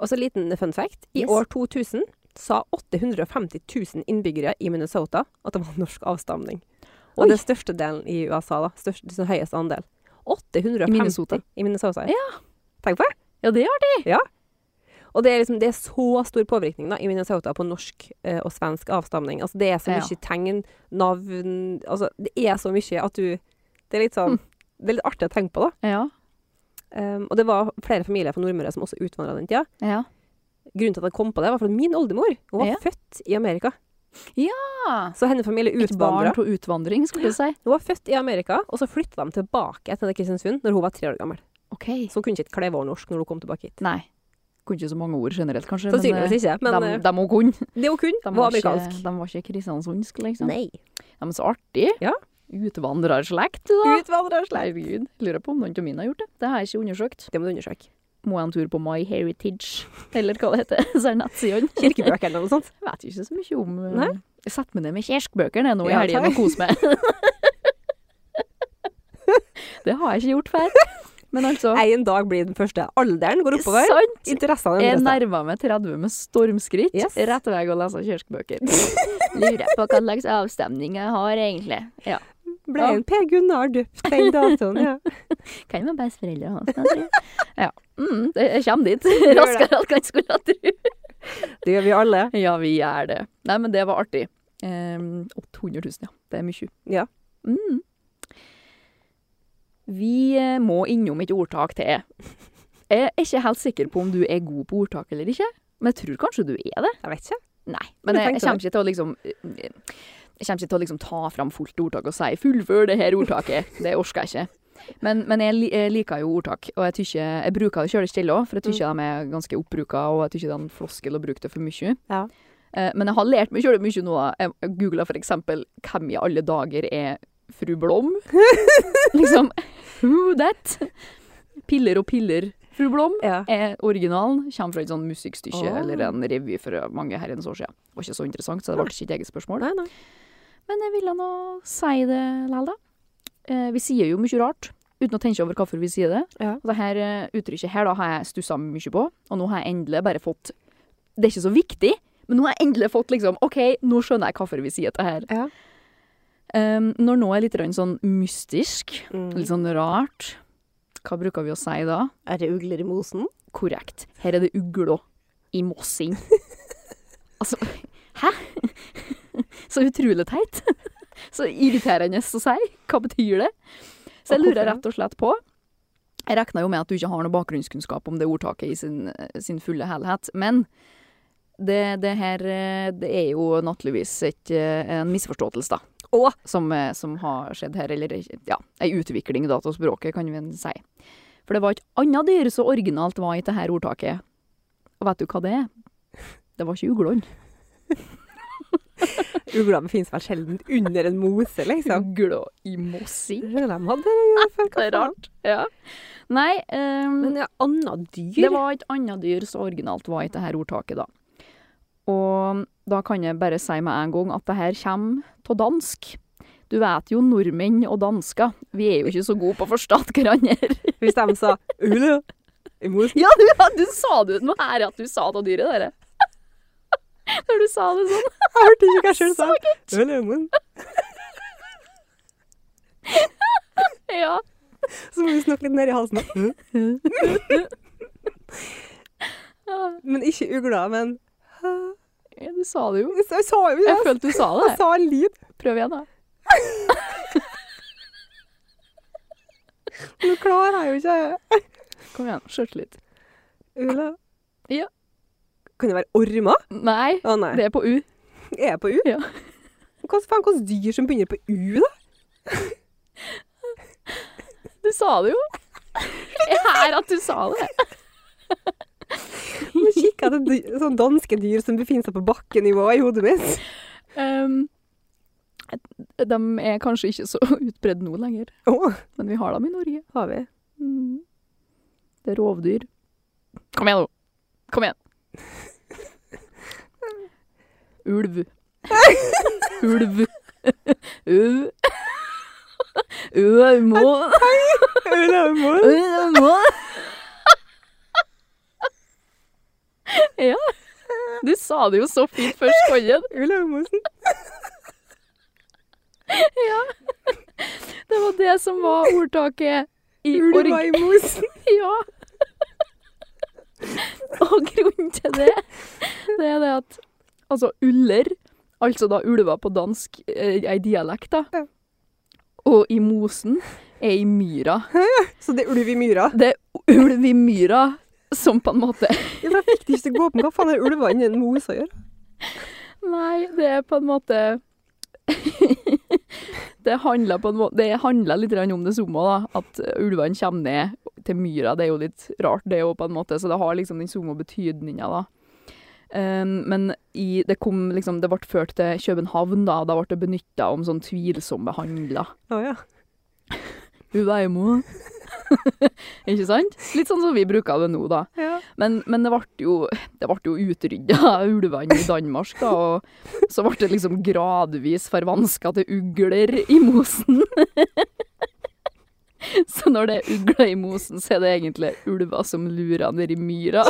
Speaker 2: Og så en liten fun fact. I
Speaker 3: Yes.
Speaker 2: år 2000 sa 850 000 innbyggere i Minnesota at det var norsk avstamning. Og
Speaker 3: Oi.
Speaker 2: den største delen i USA, da. Største, den høyeste andel. 850
Speaker 3: Minnesota.
Speaker 2: i Minnesota. Ja. Tenk på det.
Speaker 3: Ja, det er det.
Speaker 2: Og det er, liksom, det er så stor påvirkning da, i Minnesota på norsk eh, og svensk avstamning. Altså, det er så
Speaker 3: Ja.
Speaker 2: mye tegn, navn altså, Det er så mye at du Det er litt
Speaker 3: Hm.
Speaker 2: sånn Det er litt artig å tenke på, da.
Speaker 3: Ja.
Speaker 2: Um, og det var flere familier fra Nordmøre som også utvandra den tida.
Speaker 3: ja.
Speaker 2: Grunnen til at jeg kom på det, var fordi min oldemor hun var
Speaker 3: Ja.
Speaker 2: født i Amerika.
Speaker 3: Ah.
Speaker 2: Så hennes familie
Speaker 3: Et barn
Speaker 2: utvandra.
Speaker 3: til utvandring, skulle du si.
Speaker 2: Hun var født i Amerika, og så flytta de tilbake til Kristiansund når hun var tre år gammel.
Speaker 3: Ok.
Speaker 2: Så hun kunne ikke et klevårnorsk når hun kom tilbake hit.
Speaker 3: Nei. Kunne ikke så mange ord generelt, kanskje.
Speaker 2: Sannsynligvis ikke, men
Speaker 3: de,
Speaker 2: eh,
Speaker 3: de må kunne.
Speaker 2: det hun kunne,
Speaker 3: De
Speaker 2: var
Speaker 3: var,
Speaker 2: amerikansk.
Speaker 3: ikke, de var ikke kristiansundsk, liksom.
Speaker 2: Nei.
Speaker 3: Ja, men så artig.
Speaker 2: Ja.
Speaker 3: Utvandrerslekt, du da.
Speaker 2: Utvandra slei.
Speaker 3: Herregud. Lurer på om noen av mine har gjort det. Det har jeg ikke undersøkt.
Speaker 2: Det må du undersøke.
Speaker 3: Må jeg en tur på My Heritage, eller hva det heter. Så er nettsidene.
Speaker 2: Kirkebøker eller noe sånt.
Speaker 3: Jeg vet ikke så mye om eh,
Speaker 2: Nei.
Speaker 3: Jeg setter meg ned med kirkebøkene nå i
Speaker 2: Ja,
Speaker 3: helgen
Speaker 2: takk.
Speaker 3: og koser meg. det har jeg ikke gjort før. Men altså
Speaker 2: En dag blir den første. Alderen går oppover.
Speaker 3: Sant!
Speaker 2: Interessene
Speaker 3: Jeg
Speaker 2: endrer seg.
Speaker 3: nærma meg 30 med stormskritt.
Speaker 2: Yes.
Speaker 3: Rett vei å lese kirkebøker. Lurer på hva slags avstemning jeg har, egentlig. Ja.
Speaker 2: Ble en Per Gunnar døpt den datoen? Ja.
Speaker 3: Kan være besteforeldre hans, kanskje. ja. Mm, det- jeg kommer dit
Speaker 2: det.
Speaker 3: raskere enn jeg skulle ha trodd.
Speaker 2: Det gjør vi alle.
Speaker 3: Ja, vi gjør det. Nei, men det var artig. Um, 800 000, ja. Det er mye.
Speaker 2: Ja.
Speaker 3: Mm. Vi eh, må innom et ordtak til. Jeg er ikke helt sikker på om du er god på ordtak eller ikke, men jeg tror kanskje du er det.
Speaker 2: Jeg vet ikke.
Speaker 3: Nei. Men jeg, jeg
Speaker 2: tenkte
Speaker 3: kommer ikke til å liksom Jeg kommer ikke til å liksom ta fram fullt ordtak og si 'fullfør det her ordtaket'. Det orker jeg ikke. Men, men jeg, li- jeg liker jo ordtak, og jeg, tykker, jeg bruker det kjølig stille òg, for jeg syns de er ganske oppbruka, og jeg syns det er en floskel å bruke det for mye.
Speaker 2: Ja.
Speaker 3: Eh, Men jeg har lært meg kjølig mye nå. da. Jeg googla f.eks. 'Hvem i alle dager er fru Blom?' liksom Who that? Piller og piller, fru Blom
Speaker 2: Ja.
Speaker 3: er Eh, originalen kommer fra et sånn musikkstykke
Speaker 2: Åh.
Speaker 3: eller en revy for mange herrens år siden. Det var ikke så interessant, så det ble ikke et eget spørsmål.
Speaker 2: Nei, nei.
Speaker 3: Men jeg ville nå si det likevel, da. Eh, vi sier jo mye rart uten å tenke over hvorfor vi sier det.
Speaker 2: Ja.
Speaker 3: Og det her eh, uttrykket her da har jeg stussa mye på, og nå har jeg endelig bare fått Det er ikke så viktig, men nå har jeg endelig fått liksom OK, nå skjønner jeg hvorfor vi sier det her.
Speaker 2: Ja.
Speaker 3: Um, når noe er litt grann sånn mystisk,
Speaker 2: Mm.
Speaker 3: litt sånn rart, hva bruker vi å si da?
Speaker 2: Er det ugler i mosen?
Speaker 3: Korrekt. Her er det ugla i mossing. Altså, hæ? Så utrolig teit. Så irriterende å si. Hva betyr det? Så
Speaker 2: Og hvorfor
Speaker 3: jeg lurer rett og slett på Jeg regner jo med at du ikke har noe bakgrunnskunnskap om det ordtaket i sin, eh, sin fulle helhet, men det, det her eh, det er jo naturligvis et, eh, en misforståelse, da.
Speaker 2: Å!
Speaker 3: Som, eh, som har skjedd her, eller ja, ei utvikling da, av språket, kan vi si. For det var et annet dyr så originalt var i dette ordtaket. Og vet du hva det er? Det var ikke uglene.
Speaker 2: Uglene befinner seg vel sjelden under en mose, liksom.
Speaker 3: Ugla i mossing.
Speaker 2: Skjønner de hadde det å gjøre før, hva
Speaker 3: Mm. Det er
Speaker 2: faen?
Speaker 3: rart. Ja. Nei, ehm,
Speaker 2: Men ja, annet dyr?
Speaker 3: det var et annet dyr så originalt var i dette ordtaket, da. Og da kan jeg bare si med en gang at det her kommer av dansk. Du vet jo nordmenn og dansker, vi er jo ikke så gode på å forstå hverandre.
Speaker 2: Hvis de sa ugle i mosen?
Speaker 3: Ja, du, ja, du sa det uten å ære at du sa det av dyret, dere. Når du sa det sånn.
Speaker 2: Jeg hørte ikke hva jeg selv sa. Ugle i mosen.
Speaker 3: Ja.
Speaker 2: Så må vi snakke litt ned i halsen. da. Men ikke ugla, men
Speaker 3: Ja, du sa det jo.
Speaker 2: Jeg sa jo det!
Speaker 3: Jeg følte du sa det.
Speaker 2: Jeg sa en lyd.
Speaker 3: Prøv igjen, da.
Speaker 2: Nå klarer jeg jo ikke
Speaker 3: Kom igjen, sjøltillit.
Speaker 2: Ugle.
Speaker 3: Ja.
Speaker 2: Kan det være ormer?
Speaker 3: Nei,
Speaker 2: Å nei.
Speaker 3: det er på U.
Speaker 2: Er jeg på U?
Speaker 3: Ja.
Speaker 2: Hva faen hvilke dyr som begynner på U, da?
Speaker 3: Du sa det jo. Jeg er her at du sa det.
Speaker 2: Nå kikker jeg til dy- sånne danske dyr som befinner seg på bakkenivå i hodet mitt.
Speaker 3: Um, de er kanskje ikke så utbredt nå lenger,
Speaker 2: Å,
Speaker 3: men vi har dem i Norge.
Speaker 2: har vi.
Speaker 3: Mm. Det er rovdyr. Kom igjen, nå. Kom igjen. Ulv. Ulv. Ulv. Ulv. må-
Speaker 2: Ulemor.
Speaker 3: Ja. Du sa det jo så fint først, Konjen.
Speaker 2: Ulemosen.
Speaker 3: Det var det som var ordtaket i
Speaker 2: Ulva
Speaker 3: org...
Speaker 2: i mosen.
Speaker 3: Ja. Og grunnen til det, det er det at altså uller, altså da ulver på dansk, eh, ei dialekt, da,
Speaker 2: Ja.
Speaker 3: og i mosen er i myra.
Speaker 2: Så det er ulv i myra.
Speaker 3: Det er ulv i myra som på en måte
Speaker 2: Ja, for jeg fikk det ikke til å gå på. men Hva faen har ulver inni en mose å gjøre?
Speaker 3: Nei, det er på en måte Det handler på en måte Det handler litt grann om det samme, da. At ulvene kommer ned til myra. Det er jo litt rart, det òg, på en måte. Så det har liksom den samme betydninga, da. Um, men i, det kom liksom Det ble ført til København, da. og Da ble det benytta om sånn tvilsomme handler.
Speaker 2: Å ja.
Speaker 3: Hun er imot. Ikke sant? Litt sånn som vi bruker det nå, da.
Speaker 2: ja.
Speaker 3: Men, men det ble jo, det ble jo utrydda ulvene i Danmark, da, og så ble det liksom gradvis forvanska til ugler i mosen. Så når det er ugler i mosen, så er det egentlig ulver som lurer nedi myra.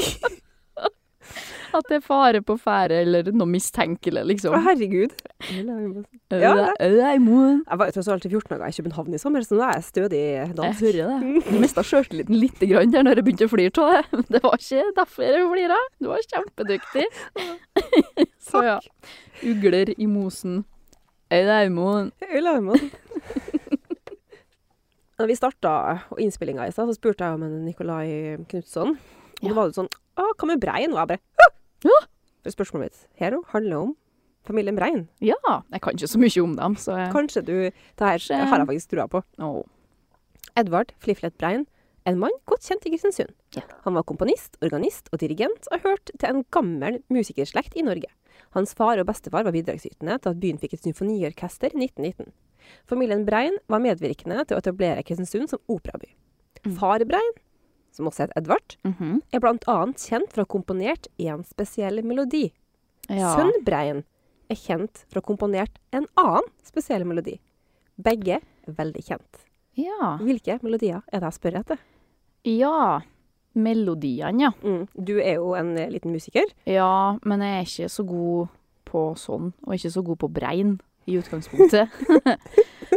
Speaker 3: At det er fare på ferde eller noe mistenkelig,
Speaker 2: Å,
Speaker 3: liksom.
Speaker 2: herregud. Ulva i mosen. ja,
Speaker 3: Øla- øla i mosen.
Speaker 2: Jeg var jo tross alt i 14 dager i København i sommer, så nå er jeg stødig
Speaker 3: Jeg
Speaker 2: dansk.
Speaker 3: hører det. Du mista Eh. sjøltilliten lite grann der når jeg begynte å flire av det. Det var ikke derfor jeg flira. Du var kjempedyktig. Så ja. Ugler i mosen. Eidaumoen.
Speaker 2: Ulla Herman. Når vi starta innspillinga i stad, så spurte jeg om en Nikolai Knutson. Og
Speaker 3: Ja.
Speaker 2: da var det sånn Å, hva med brei nå? Jeg bare For spørsmålet mitt her også handler om familien Brein.
Speaker 3: Ja, jeg kan ikke så mye om dem, så jeg...
Speaker 2: Kanskje du Det her
Speaker 3: Kanskje-
Speaker 2: har jeg faktisk trua på.
Speaker 3: Åh.
Speaker 2: Edvard Fliflet Brein, en mann godt kjent i Kristiansund.
Speaker 3: Ja.
Speaker 2: Han var komponist, organist og dirigent, og hørte til en gammel musikerslekt i Norge. Hans far og bestefar var bidragsytende til at byen fikk et symfoniorkester i 1919. Familien Brein var medvirkende til å etablere Kristiansund som operaby.
Speaker 3: Mm.
Speaker 2: Far Brein, som også het Edvard,
Speaker 3: Mhm.
Speaker 2: er blant annet kjent for å ha komponert én spesiell melodi.
Speaker 3: ja.
Speaker 2: Sønn Brein er kjent for å ha komponert en annen spesiell melodi. Begge er veldig kjent.
Speaker 3: Ja.
Speaker 2: Hvilke melodier er det jeg spør etter?
Speaker 3: ja. Melodiene, ja.
Speaker 2: Mm. Du er jo en eh, liten musiker.
Speaker 3: Ja, men jeg er ikke så god på sånn, og ikke så god på brein i utgangspunktet.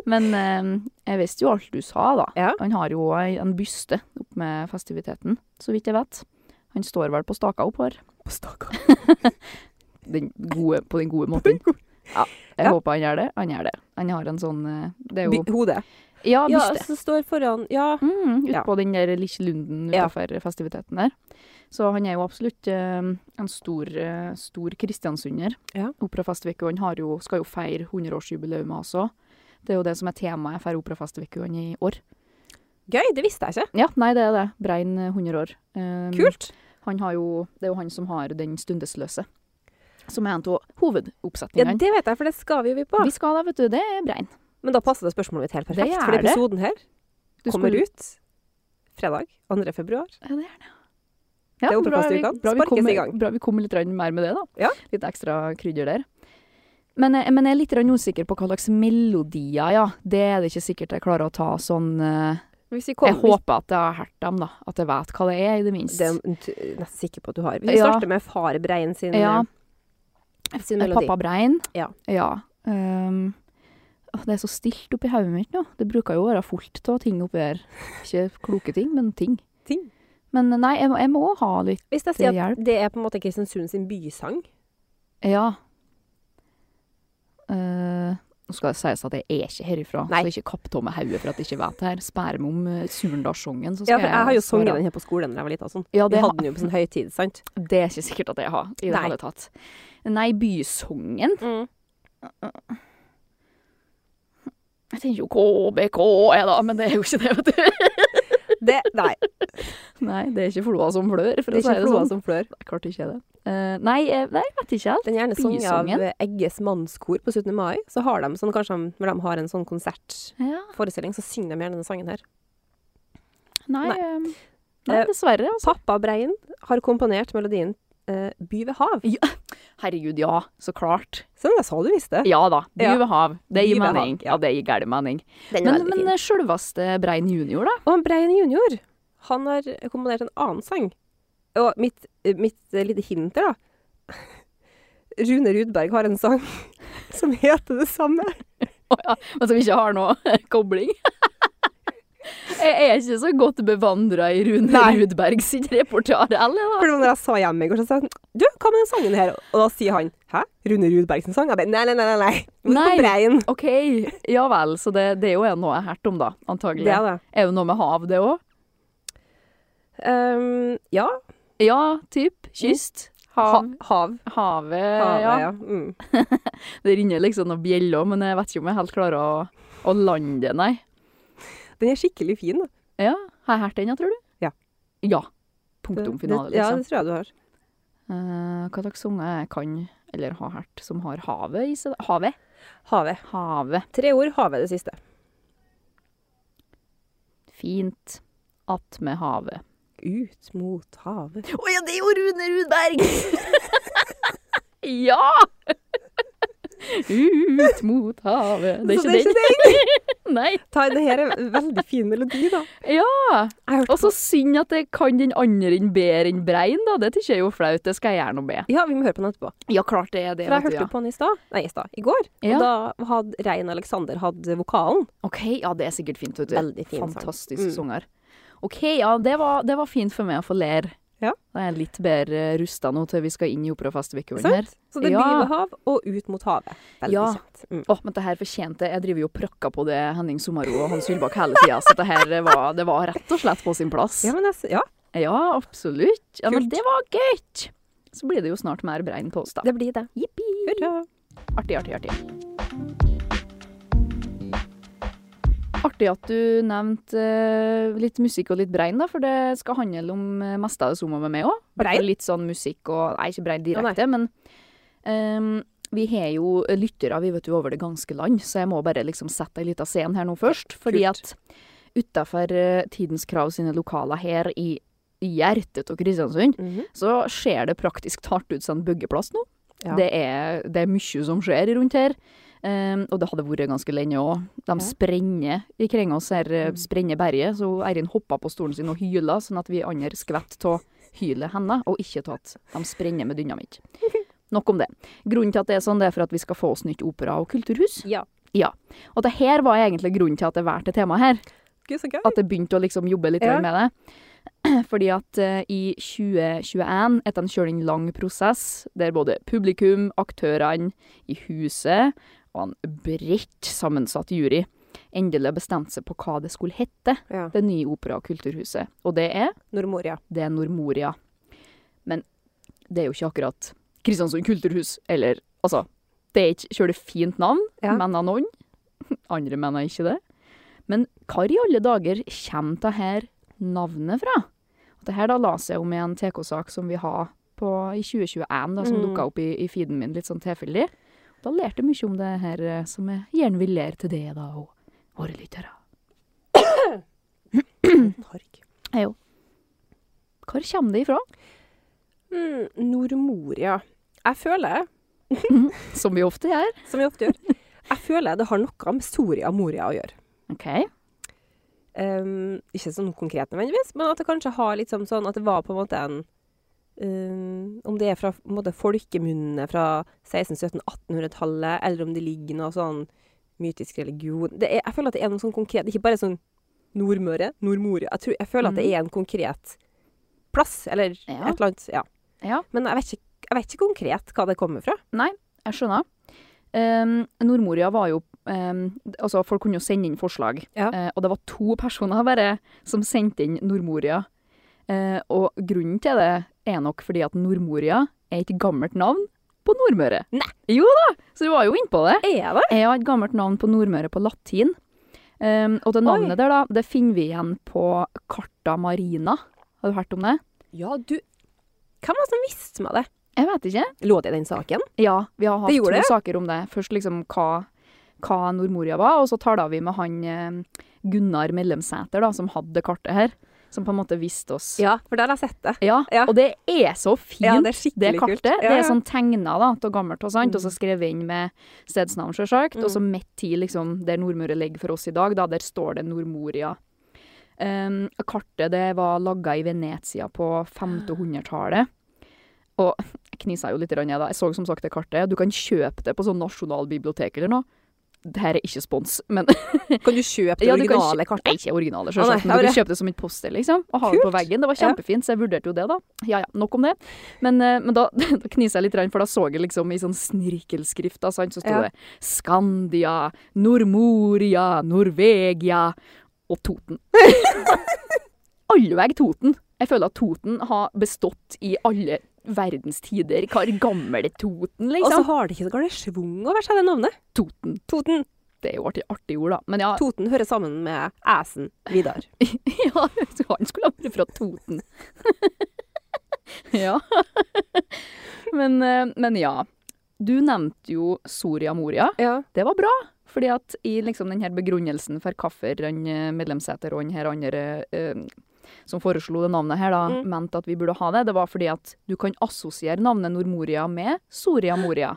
Speaker 3: men eh, jeg visste jo alt du sa, da.
Speaker 2: Ja.
Speaker 3: Han har jo ei- en byste opp med festiviteten, så vidt jeg vet. Han står vel på staka opp her.
Speaker 2: På staka.
Speaker 3: Den gode, på den gode måten. Ja, jeg
Speaker 2: Ja.
Speaker 3: håper han gjør det. Han gjør det. Han har en sånn eh, Det er jo
Speaker 2: Hodet.
Speaker 3: Ja,
Speaker 2: Ja,
Speaker 3: byste.
Speaker 2: som står foran Ja.
Speaker 3: Mm,
Speaker 2: Ja.
Speaker 3: Utpå den der lille lunden
Speaker 2: Ja.
Speaker 3: utenfor festiviteten der. Så han er jo absolutt eh, en stor, eh, stor kristiansunder.
Speaker 2: Ja.
Speaker 3: Operafestivikuene har jo, skal jo feire 100-årsjubileumet også. Det er jo det som er temaet for operafestivikuene i år.
Speaker 2: Gøy, det visste jeg ikke.
Speaker 3: Ja, nei, det er det. Brein eh, 100 år. Um,
Speaker 2: Kult.
Speaker 3: Han har jo, det er jo han som har Den stundesløse, som er en av
Speaker 2: Ja,
Speaker 3: hovedoppsetningene.
Speaker 2: det vet jeg, for det skal vi jo vi på.
Speaker 3: Vi skal da, vet du. Det er Brein.
Speaker 2: Men da passer det spørsmålet mitt helt perfekt.
Speaker 3: Det
Speaker 2: for
Speaker 3: er det.
Speaker 2: episoden her
Speaker 3: Du
Speaker 2: kommer
Speaker 3: skulle-
Speaker 2: ut fredag 2. februar.
Speaker 3: Ja, det er det.
Speaker 2: Det er
Speaker 3: bra vi-
Speaker 2: operafestivukene.
Speaker 3: bra vi
Speaker 2: Sparkes
Speaker 3: kom-
Speaker 2: i gang.
Speaker 3: Bra vi kom litt grann mer med det, da.
Speaker 2: Ja.
Speaker 3: Litt ekstra krydder der. Men, jeg- men jeg er litt grann usikker på hva slags melodier, ja. Det er det ikke sikkert jeg klarer å ta sånn eh,
Speaker 2: Hvis vi
Speaker 3: Jeg
Speaker 2: kommer, hvis
Speaker 3: håper at jeg har hørt dem, da. At jeg vet hva det er, i det minste.
Speaker 2: Det er jeg nesten sikker på at du har. Vi
Speaker 3: Ja.
Speaker 2: starter med far Brein sin,
Speaker 3: Ja.
Speaker 2: eh, sin
Speaker 3: Eh,
Speaker 2: melodi.
Speaker 3: Pappa Brein.
Speaker 2: Ja.
Speaker 3: Ehm, åh, det er så stilt oppi hodet mitt nå. Det bruker jo å være fullt av ting oppi her. Ikke kloke ting, men ting.
Speaker 2: Ting.
Speaker 3: Men eh, nei, jeg må, jeg må ha litt
Speaker 2: Hvis jeg
Speaker 3: Det
Speaker 2: sier at
Speaker 3: hjelper.
Speaker 2: det er på en måte Kristiansund sin bysang
Speaker 3: Ja. Eh, nå skal det sies at jeg er ikke herifra,
Speaker 2: Nei.
Speaker 3: så ikke kapp av meg hodet for at jeg ikke vet det her. Spær meg om uh, Surendalssangen, så skal
Speaker 2: Ja, for jeg har jo
Speaker 3: svare.
Speaker 2: sunget den her på skolen da jeg var liten. og Sånn.
Speaker 3: Ja,
Speaker 2: Vi
Speaker 3: det,
Speaker 2: hadde den jo på sånn høytid, sant?
Speaker 3: har- det er ikke sikkert at jeg har i det
Speaker 2: Nei.
Speaker 3: hele tatt. Nei, bysangen Jeg tenker jo KBK, jeg da, men det er jo ikke det, vet du.
Speaker 2: Det, nei, det
Speaker 3: Nei, det er ikke floa som flør, for
Speaker 2: er
Speaker 3: å si
Speaker 2: ikke
Speaker 3: det
Speaker 2: floa
Speaker 3: sånn.
Speaker 2: som flør.
Speaker 3: Nei, klart ikke er det. Eh, nei, jeg, nei, jeg vet ikke helt.
Speaker 2: Den er gjerne sunget av
Speaker 3: Bysangen?
Speaker 2: eh, Egges mannskor på 17. mai. Så har de sånn, kanskje de, når de har en sånn konsertforestilling,
Speaker 3: Ja,
Speaker 2: så synger de gjerne denne sangen her.
Speaker 3: nei,
Speaker 2: Nei.
Speaker 3: eh, nei,
Speaker 2: Eh,
Speaker 3: dessverre. Altså.
Speaker 2: Pappa Brein har komponert melodien eh, By ved hav.
Speaker 3: Herregud, ja, så klart.
Speaker 2: Sånn, jeg sa du visste.
Speaker 3: Ja da, by
Speaker 2: Ja.
Speaker 3: ved hav. Det gir
Speaker 2: By ved
Speaker 3: mening.
Speaker 2: hav, ja.
Speaker 3: Ja, det gir gæren mening.
Speaker 2: Den er
Speaker 3: Men,
Speaker 2: veldig
Speaker 3: men
Speaker 2: fin.
Speaker 3: sjølveste Brein junior, da?
Speaker 2: eh, Og han Brein junior, han har komponert en annen sang. Og mitt, eh, mitt eh, lite hint her, da. Rune Rudberg har en sang som heter det samme.
Speaker 3: Å ja, men som ikke har noe kobling? Jeg er ikke så godt bevandra i Rune
Speaker 2: Nei.
Speaker 3: Rudberg sitt repertoar heller, da.
Speaker 2: For det var når jeg sa hjemme i går, så sa han Du, hva med den sangen her? Og da sier han Hæ? Rune Rudberg sin sang? Jeg bare Nei, nei, nei, nei. nei. Du må
Speaker 3: Nei.
Speaker 2: på breien.
Speaker 3: OK, ja vel. Så det, det er jo noe jeg har hørt om, da. Antagelig.
Speaker 2: Det er det.
Speaker 3: Er jo noe med hav, det òg?
Speaker 2: Ehm, ja.
Speaker 3: Ja, typ. Kyst.
Speaker 2: Ha,
Speaker 3: Hav.
Speaker 2: Mm. hav.
Speaker 3: Havet,
Speaker 2: Havet,
Speaker 3: ja.
Speaker 2: ja. Mm.
Speaker 3: Det ringer liksom noen bjeller, men jeg vet ikke om jeg helt klarer å, å lande det, nei.
Speaker 2: Den er skikkelig fin. da.
Speaker 3: Ja, har jeg hørt den, ja, tror du?
Speaker 2: Ja.
Speaker 3: Ja. Punktum
Speaker 2: Det-
Speaker 3: finale,
Speaker 2: det- Ja,
Speaker 3: liksom.
Speaker 2: det tror jeg du har.
Speaker 3: Eh, hva slags sanger jeg kan, eller har hørt, som har havet i seg? da? Havet?
Speaker 2: Havet.
Speaker 3: Havet.
Speaker 2: Tre ord. Havet er det siste.
Speaker 3: Fint. Att med havet.
Speaker 2: Ut mot havet.
Speaker 3: Å ja, det er jo Rune Rudberg! ja! Ut mot havet. Det er
Speaker 2: Så
Speaker 3: ikke den.
Speaker 2: det.
Speaker 3: Nei.
Speaker 2: Ta, det her er en veldig fin melodi, da.
Speaker 3: Ja.
Speaker 2: Jeg har hørt
Speaker 3: Og så synd at jeg kan den andre enn bedre enn Brein, da. Det tykker jeg er jo flaut. Det skal jeg gjerne be.
Speaker 2: på- Ja, vi må høre på den etterpå.
Speaker 3: Ja, klart det er
Speaker 2: For jeg
Speaker 3: det. vet du,
Speaker 2: hørte jo
Speaker 3: ja.
Speaker 2: på den i stad. Nei, i stad. I går.
Speaker 3: Ja.
Speaker 2: Og da hadde Rein Alexander hatt vokalen.
Speaker 3: OK, ja, det er sikkert fint. Vet du.
Speaker 2: Veldig fin sang.
Speaker 3: Fantastisk
Speaker 2: Mm.
Speaker 3: sanger. OK, ja, det var, det var fint for meg å få ler.
Speaker 2: Ja.
Speaker 3: Da er jeg litt bedre rusta nå til vi skal inn i operafestivikulen her.
Speaker 2: Sant? Så det er
Speaker 3: Ja.
Speaker 2: by ved hav og ut mot havet. Veldig
Speaker 3: Ja.
Speaker 2: kjent. Mm.
Speaker 3: Å, men det her fortjente jeg. Jeg driver jo og prakker på det Henning Sommaro og Hans Hylbakk hele tida, så det her var, det var rett og slett på sin plass.
Speaker 2: Ja, men jeg, s- ja.
Speaker 3: Ja, absolutt. Ja, men
Speaker 2: Kult.
Speaker 3: det var gøy. så blir det jo snart mer brein på oss, da.
Speaker 2: Det blir det.
Speaker 3: Jippi!
Speaker 2: Hurra.
Speaker 3: Artig, artig, artig. Artig at du nevnte eh, litt musikk og litt brein, da, for det skal handle om eh, meste av det samme med meg òg.
Speaker 2: Brein?
Speaker 3: Litt sånn musikk og Nei, ikke brein
Speaker 2: Å, nei.
Speaker 3: direkte, men ehm, vi har jo lyttere vi vet jo over det ganske land, så jeg må bare liksom sette ei lita scene her nå først. Fordi
Speaker 2: Kult.
Speaker 3: at utafor Tidens Krav sine lokaler her i hjertet av Kristiansund,
Speaker 2: Mhm.
Speaker 3: så ser det praktisk talt ut som en byggeplass nå.
Speaker 2: Ja.
Speaker 3: Det, er, det er mye som skjer rundt her. Ehm, og det hadde vært ganske lenge òg.
Speaker 2: Ja.
Speaker 3: De sprenner ikring oss her, eh,
Speaker 2: Mm.
Speaker 3: sprenner berget. Så Eirin hoppa på stolen sin og hyla, sånn at vi andre skvett av hylet hennes, og ikke av at de sprenner med dynamitt. Nok om det. Grunnen til at det er sånn, det er for at vi skal få oss nytt opera- og kulturhus.
Speaker 2: Ja.
Speaker 3: Og det her var egentlig grunnen til at jeg valgte temaet her
Speaker 2: Gud, så gøy.
Speaker 3: at jeg begynte å liksom jobbe litt
Speaker 2: Ja.
Speaker 3: med det. Fordi at eh, i 2021, etter en kjølig lang prosess, der både publikum, aktørene i huset og en bredt sammensatt jury endelig bestemte seg på hva det skulle hete,
Speaker 2: Ja.
Speaker 3: det nye opera- og kulturhuset. Og det er
Speaker 2: Nordmoria.
Speaker 3: det er Nordmoria. Men det er jo ikke akkurat Kristiansund kulturhus, eller altså Det er ikke kjølig fint navn,
Speaker 2: Ja.
Speaker 3: mener noen. Andre mener ikke det. Men hva i alle dager kommer det her navnet fra? At det her da la seg om i en TK-sak som vi har på, i 2021, da, som
Speaker 2: Mm.
Speaker 3: dukka opp i, i feeden min litt sånn tilfeldig. Da lærte jeg mye om det her, eh, som jeg gjerne vil lære til deg, da, og våre lyttere. Mm.
Speaker 2: Hark.
Speaker 3: Hvor kommer det ifra?
Speaker 2: Mm, Nordmoria. Jeg føler,
Speaker 3: Som vi ofte gjør.
Speaker 2: som vi ofte gjør, jeg føler det har noe med Soria Moria å gjøre.
Speaker 3: OK.
Speaker 2: Ehm, ikke sånn konkret nødvendigvis, men at det kanskje har litt som sånn at det var på en måte en ehm, Om det er fra på en måte, folkemunnene fra 1600-1700-1800-tallet, eller om det ligger noe sånn mytisk religion det er, Jeg føler at det er noe sånn konkret Ikke bare sånn Nordmøre, Nordmoria. Jeg, tror, jeg føler at det
Speaker 3: Mhm.
Speaker 2: er en konkret plass, eller
Speaker 3: Ja.
Speaker 2: et eller annet. Ja.
Speaker 3: Ja.
Speaker 2: Men jeg vet, ikke, jeg vet ikke konkret hva det kommer fra.
Speaker 3: Jeg skjønner. Um, Nordmoria var jo um, Altså, folk kunne jo sende inn forslag.
Speaker 2: Ja.
Speaker 3: Eh, og det var to personer bare som sendte inn Nordmoria. Eh, og grunnen til det er nok fordi at Nordmoria er et gammelt navn på Nordmøre.
Speaker 2: Nei.
Speaker 3: Jo da! Så du var jo innpå det.
Speaker 2: Er det?
Speaker 3: Jeg har et gammelt navn på Nordmøre på latin. Um, og det navnet
Speaker 2: Oi.
Speaker 3: der, da, det finner vi igjen på Carta Marina. Har du hørt om det?
Speaker 2: Ja, du Hvem var det som visste meg det?
Speaker 3: Jeg vet ikke.
Speaker 2: Lå det i den saken?
Speaker 3: Ja, vi har hatt
Speaker 2: Det gjorde
Speaker 3: to
Speaker 2: det?
Speaker 3: saker om det. Først liksom hva, hva Nordmoria var, og så tala vi med han eh, Gunnar Mellemsæter, da, som hadde kartet her. Som på en måte viste oss
Speaker 2: Ja, for der har jeg sett det.
Speaker 3: Ja,
Speaker 2: Ja.
Speaker 3: Og det er så fint,
Speaker 2: Ja, det er
Speaker 3: det
Speaker 2: skikkelig kult.
Speaker 3: kartet.
Speaker 2: Ja, ja.
Speaker 3: Det er sånn tegna da, av gammelt og sånt,
Speaker 2: Mm.
Speaker 3: og så skrevet inn med stedsnavn, sjølsagt. Og så midt i liksom, der Nordmøre ligger for oss i dag, da, der står det Nordmoria. Um, kartet det var laga i Venezia på 1500-tallet. Og jeg knisa jo litt, rann, jeg, da. Jeg så som sagt det kartet. Du kan kjøpe det på sånn nasjonalbibliotek eller noe. Det her er ikke spons, men
Speaker 2: Kan du kjøpe det
Speaker 3: Ja, du kan
Speaker 2: originale
Speaker 3: Nei,
Speaker 2: kartet?
Speaker 3: ikke originale,
Speaker 2: Å, nei,
Speaker 3: selvsagt. Men
Speaker 2: ja,
Speaker 3: du
Speaker 2: det-
Speaker 3: kunne kjøpe det som et poster, liksom. Og ha det på
Speaker 2: Kult.
Speaker 3: veggen. Det var kjempefint, så jeg vurderte jo det, da. Ja ja, nok om det. Men, eh, men da, da knisa jeg litt, rann, for da så jeg liksom i sånn snirkelskrift, da, sant, så sto
Speaker 2: Ja.
Speaker 3: det Skandia, Nordmoria, Norvegia og Toten. alle vei Toten. Jeg føler at Toten har bestått i alle verdens tider. Hva er gamle Toten,
Speaker 2: Og så
Speaker 3: liksom?
Speaker 2: har det ikke så galt schwung over seg, det navnet.
Speaker 3: Toten.
Speaker 2: Toten.
Speaker 3: Det er jo artig, artig ord, da. Men ja,
Speaker 2: Toten hører sammen med æsen Vidar.
Speaker 3: Ja, han skulle ha vært fra Toten. ja. men, eh, men ja. Du nevnte jo Soria Moria.
Speaker 2: Ja.
Speaker 3: Det var bra. Fordi at i liksom den her begrunnelsen for hvorfor han eh, medlemseter og den her andre eh, som foreslo det navnet her, da,
Speaker 2: Mm.
Speaker 3: mente at vi burde ha det, det var fordi at du kan assosiere navnet Nordmoria med Soria Moria.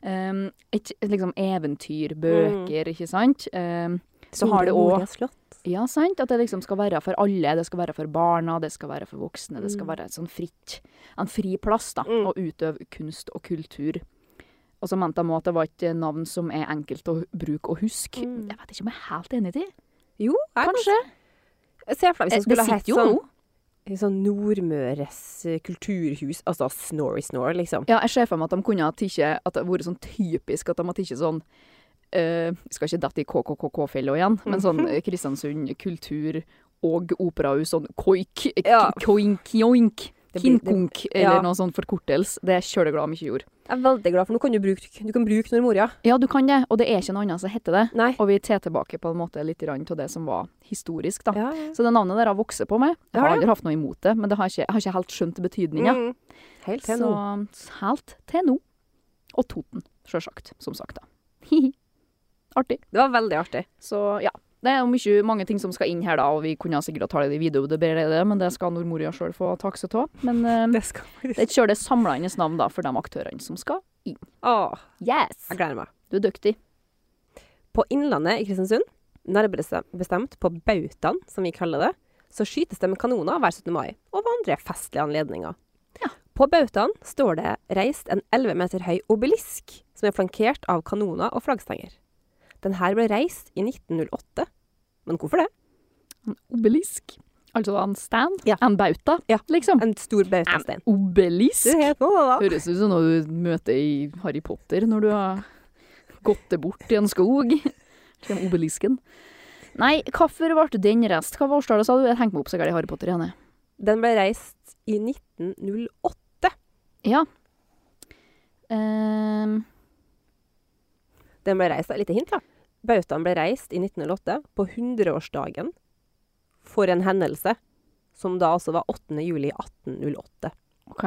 Speaker 3: Um, et, liksom eventyr, bøker, ikke sant? Um, Så har det også- ja, sant. At det liksom skal være for alle. Det skal være for barna, det skal være for voksne. Det skal
Speaker 2: Mm.
Speaker 3: være et sånn fritt, en fri plass da,
Speaker 2: Mm.
Speaker 3: å utøve kunst og kultur. Og så mente de også at det var et eh, navn som er enkelt å bruke og huske.
Speaker 2: Mm.
Speaker 3: Jeg vet ikke om jeg er helt enig i.
Speaker 2: Jo, jeg kan
Speaker 3: Kanskje.
Speaker 2: se for deg hvis
Speaker 3: Eh,
Speaker 2: det
Speaker 3: Det
Speaker 2: skulle ha hett
Speaker 3: sitter jo
Speaker 2: sånn,
Speaker 3: nå.
Speaker 2: sånn Nordmøres eh, kulturhus, altså Snorri Snore, liksom.
Speaker 3: Ja, jeg ser for meg at de kunne ha tatt At det hadde vært sånn typisk at de hadde tatt sånn eh, Skal ikke dette i KKKK-fella igjen, men sånn eh, Kristiansund kultur og operahus, sånn koik,
Speaker 2: Ja.
Speaker 3: koink, joink.
Speaker 2: Det blir- det-
Speaker 3: Kinkonk,
Speaker 2: ja.
Speaker 3: eller noe sånn forkortelse. Det er kjøleglad mye jord.
Speaker 2: Jeg er veldig glad, for nå kan du bruke, du kan bruke Normoria.
Speaker 3: Ja, du kan det, og det er ikke noe annet som heter det.
Speaker 2: Nei.
Speaker 3: Og vi tar tilbake på en måte litt av det som var historisk, da.
Speaker 2: Ja, ja.
Speaker 3: Så det navnet der har vokst på meg.
Speaker 2: Det
Speaker 3: Jeg
Speaker 2: har
Speaker 3: har
Speaker 2: det.
Speaker 3: aldri hatt noe imot det, men det har ikke, jeg har ikke helt skjønt betydninga.
Speaker 2: Mm. Helt til
Speaker 3: Så
Speaker 2: nå.
Speaker 3: helt til nå. Og Toten, sjølsagt. Som sagt, da. Hihi. Artig.
Speaker 2: Det var veldig artig.
Speaker 3: Så ja. Det er jo mye, mange ting som skal inn her, da, og vi kunne sikkert ha talt i video, det ber jeg deg, men det skal Nordmoria sjøl få takse av. Men eh,
Speaker 2: Det skal faktisk
Speaker 3: det er sjøl det samlende navn da, for de aktørene som skal.
Speaker 2: Åh,
Speaker 3: Yes!
Speaker 2: jeg gleder meg.
Speaker 3: Du er dyktig.
Speaker 2: På Innlandet i Kristiansund, nærmere se- bestemt på bautaen, som vi kaller det, så skytes det med kanoner hver 17. mai og ved andre festlige anledninger.
Speaker 3: Ja.
Speaker 2: På bautaen står det reist en 11 meter høy obelisk, som er flankert av kanoner og flaggstenger. Den her ble reist i 1908. Men hvorfor det?
Speaker 3: Obelisk. Altså en stand?
Speaker 2: Ja.
Speaker 3: En bauta,
Speaker 2: Ja.
Speaker 3: liksom?
Speaker 2: En stor bautastein.
Speaker 3: Obelisk?
Speaker 2: helt nå, da.
Speaker 3: Høres ut som noe du møter i Harry Potter når du har gått det bort i en skog. Kjem obelisken. Nei, hvorfor ble den rest? Hva var årstallet, sa du? Jeg tenkte meg opp så gærent i Harry Potter igjen. jeg.
Speaker 2: Den ble reist i 1908.
Speaker 3: Ehm,
Speaker 2: Den ble reist, et lite hint da. Bautaen ble reist i 1908 på 100-årsdagen for en hendelse som da altså var 8. juli 1808.
Speaker 3: OK.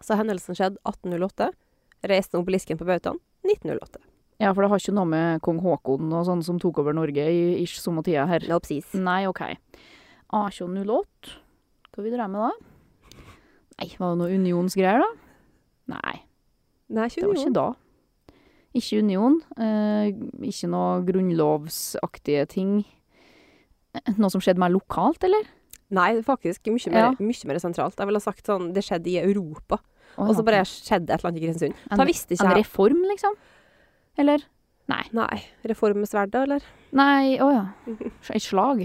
Speaker 2: Så hendelsen skjedde 1808. Reiste obelisken på Bautaen 1908.
Speaker 3: Ja, for det har ikke noe med kong Haakon og sånn som tok over Norge i ish samme tida her.
Speaker 2: Nope, sis.
Speaker 3: Nei, OK. A208. Hva vi drev med da? Nei, var det noe unionsgreier, da? Nei,
Speaker 2: Nei,
Speaker 3: det var ikke da. Ikke union. eh, ikke noe grunnlovsaktige ting. Eh, Noe som skjedde mer lokalt, eller?
Speaker 2: Nei, faktisk mye mer,
Speaker 3: Ja.
Speaker 2: mye mer sentralt. Jeg ville ha sagt sånn, det skjedde i Europa.
Speaker 3: Å,
Speaker 2: Og så
Speaker 3: ja.
Speaker 2: bare skjedde et eller annet i Kristiansund.
Speaker 3: En-
Speaker 2: Da visste ikke
Speaker 3: En
Speaker 2: jeg.
Speaker 3: reform, liksom? Eller?
Speaker 2: Nei, reform med sverd da, eller?
Speaker 3: Nei, å ja. Et slag.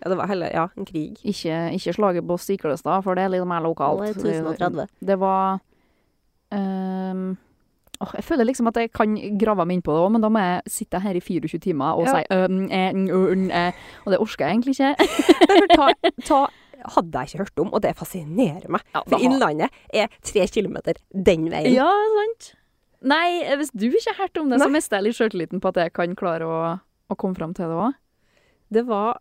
Speaker 2: Ja, det var heller, ja, en krig.
Speaker 3: Ikke, ikke slaget på Stiklestad, for det er litt mer lokalt. Det var ehm, åh, Jeg føler liksom at jeg kan grave meg inn på det òg, men da må jeg sitte her i 24 timer og
Speaker 2: Ja.
Speaker 3: si øhm, eh, mm, mm, eh, Og det orker jeg egentlig ikke.
Speaker 2: Derfor ta, ta, hadde jeg ikke hørt om, og det fascinerer meg.
Speaker 3: Ja,
Speaker 2: For Innlandet er tre kilometer den veien.
Speaker 3: Ja, sant. Nei, hvis du ikke har hørt om det, så mister jeg litt sjøltilliten på at jeg kan klare å, å komme fram til det òg.
Speaker 2: Det var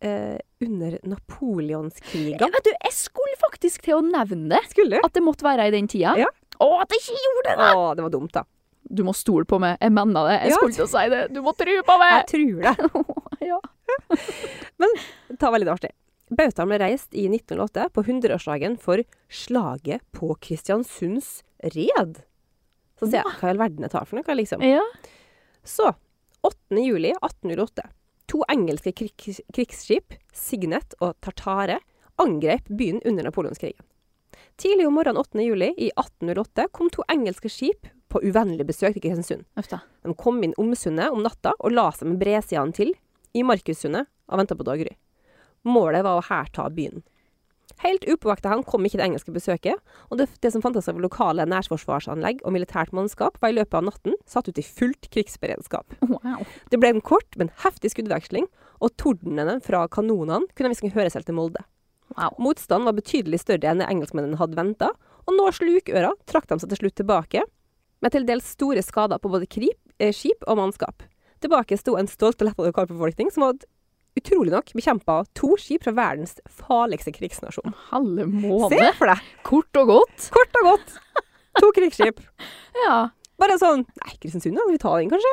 Speaker 2: eh, under napoleonskrigen.
Speaker 3: Vet du, jeg skulle faktisk til å nevne det.
Speaker 2: Skulle du?
Speaker 3: At det måtte være i den tida.
Speaker 2: Ja.
Speaker 3: Å, at jeg ikke gjorde det!
Speaker 2: Å, det var dumt, da.
Speaker 3: Du må stole på meg. Jeg mener det. Jeg
Speaker 2: Ja.
Speaker 3: skulle til å si det. Du må tro på
Speaker 2: Jeg
Speaker 3: meg!
Speaker 2: tror det.
Speaker 3: ja.
Speaker 2: Ta veldig artig. Bautaen ble reist i 1908 på 100-årsdagen for slaget på Kristiansunds red. Så sier jeg, hva i all verden jeg tar for noe, liksom.
Speaker 3: ja.
Speaker 2: Så, 8. juli 1808. To engelske krig krigsskip, Signet og Tartare, angrep byen under napoleonskrigen. Tidlig om morgenen 8. juli i 1808 kom to engelske skip på uvennlig besøk til Kristiansund.
Speaker 3: Uff da.
Speaker 2: De kom inn Omsundet om natta og la seg med bredsidene til i Markussundet og venta på daggry. Målet var å hærta byen. Helt upåvakta hen kom ikke det engelske besøket, og det, det som fantes av lokale nærforsvarsanlegg og militært mannskap, var i løpet av natten satt ut i fullt krigsberedskap.
Speaker 3: Wow.
Speaker 2: Det ble en kort, men heftig skuddveksling, og tordenene fra kanonene kunne hvisken høres helt til Molde.
Speaker 3: Wow.
Speaker 2: Motstanden var betydelig større enn det engelskmennene hadde venta, og nå slukøra trakk de seg til slutt tilbake, med til dels store skader på både krip, eh, skip og mannskap. Tilbake sto en stolt og letta lokalbefolkning som hadde utrolig nok bekjempa to skip fra verdens farligste krigsnasjon.
Speaker 3: Halve
Speaker 2: Se
Speaker 3: måned.
Speaker 2: for deg!
Speaker 3: Kort og godt.
Speaker 2: Kort og godt. To krigsskip.
Speaker 3: Ja.
Speaker 2: Bare sånn Nei, Kristiansund, ja. Vi tar den, kanskje?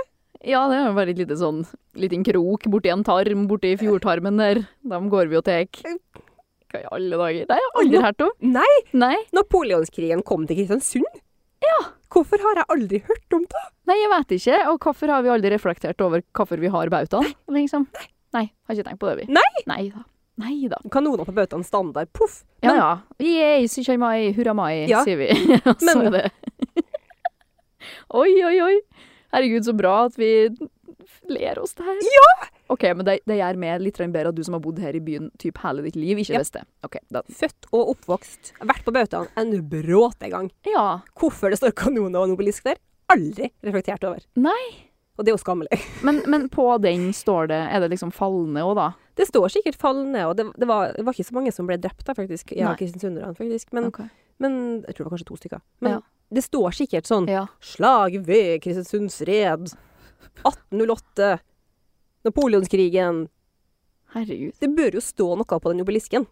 Speaker 3: ja, det er jo bare et lite sånn liten krok borti en tarm, borti fjordtarmen der. Dem går vi og tar. Hva i alle dager? Det har jeg aldri hørt om.
Speaker 2: Nei!
Speaker 3: Nei.
Speaker 2: Napoleonskrigen kom til Kristiansund? Ja. Hvorfor har jeg aldri hørt om det?
Speaker 3: Nei, jeg vet ikke. Og hvorfor har vi aldri reflektert over hvorfor vi har bautaen? Liksom. Nei, har ikke tenkt på det, vi.
Speaker 2: Nei!
Speaker 3: Nei da. Nei da.
Speaker 2: Kanoner på bautaen standard, poff.
Speaker 3: Ja
Speaker 2: Men
Speaker 3: ja. Yay, sykjai mai, hurra mai,
Speaker 2: Ja.
Speaker 3: sier vi. Og så
Speaker 2: Men-
Speaker 3: er det Oi, oi, oi. Herregud, så bra at vi ler oss det her. Ja! OK, men det, det gjør meg litt bedre at du som har bodd her i byen typ hele ditt liv, ikke
Speaker 2: Ja.
Speaker 3: visste det. OK, da
Speaker 2: født og oppvokst, vært på bautaen en bråte gang.
Speaker 3: Ja.
Speaker 2: Hvorfor det står kanoner og en obelisk der, aldri reflektert over.
Speaker 3: Nei.
Speaker 2: Og det er jo skammelig.
Speaker 3: Men, men på den står det Er det liksom falne òg, da?
Speaker 2: Det står sikkert falne, og det, det, var, det var ikke så mange som ble drept da, faktisk. Ja,
Speaker 3: Nei.
Speaker 2: kristiansunderne, faktisk. Men,
Speaker 3: Ok.
Speaker 2: men jeg tror det var kanskje to stykker. Men
Speaker 3: Ja.
Speaker 2: det står sikkert sånn
Speaker 3: Ja.
Speaker 2: Slag ved Kristiansunds red. 1808. Napoleonskrigen.
Speaker 3: Herregud.
Speaker 2: Det bør jo stå noe på den obelisken.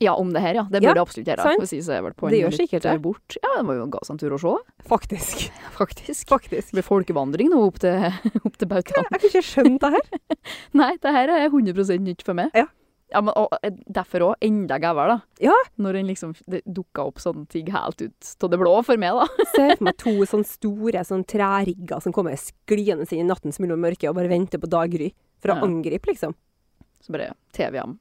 Speaker 3: Ja, om det her, ja. Det
Speaker 2: Ja,
Speaker 3: burde det absolutt gjøre.
Speaker 2: sant?
Speaker 3: For å si så er jeg vel på en
Speaker 2: Det gjør
Speaker 3: litt,
Speaker 2: sikkert
Speaker 3: eh,
Speaker 2: det.
Speaker 3: Bort. Ja, det var jo en gass en tur å se,
Speaker 2: Faktisk.
Speaker 3: faktisk. Det
Speaker 2: Faktisk.
Speaker 3: blir folkevandring nå opp til, opp til bautaen.
Speaker 2: Jeg har ikke skjønt det her.
Speaker 3: Nei, det her er 100 nytt for meg.
Speaker 2: Ja.
Speaker 3: Ja, men og, eh, Derfor òg enda gauere, da.
Speaker 2: Ja.
Speaker 3: Når en liksom det dukka opp sånne ting helt ut av det blå for meg, da.
Speaker 2: ser for meg to sånn store sånn trærigger som kommer skliende inn i nattens mulm og mørke og bare venter på daggry for å
Speaker 3: Ja.
Speaker 2: angripe, liksom.
Speaker 3: Så bare TV-en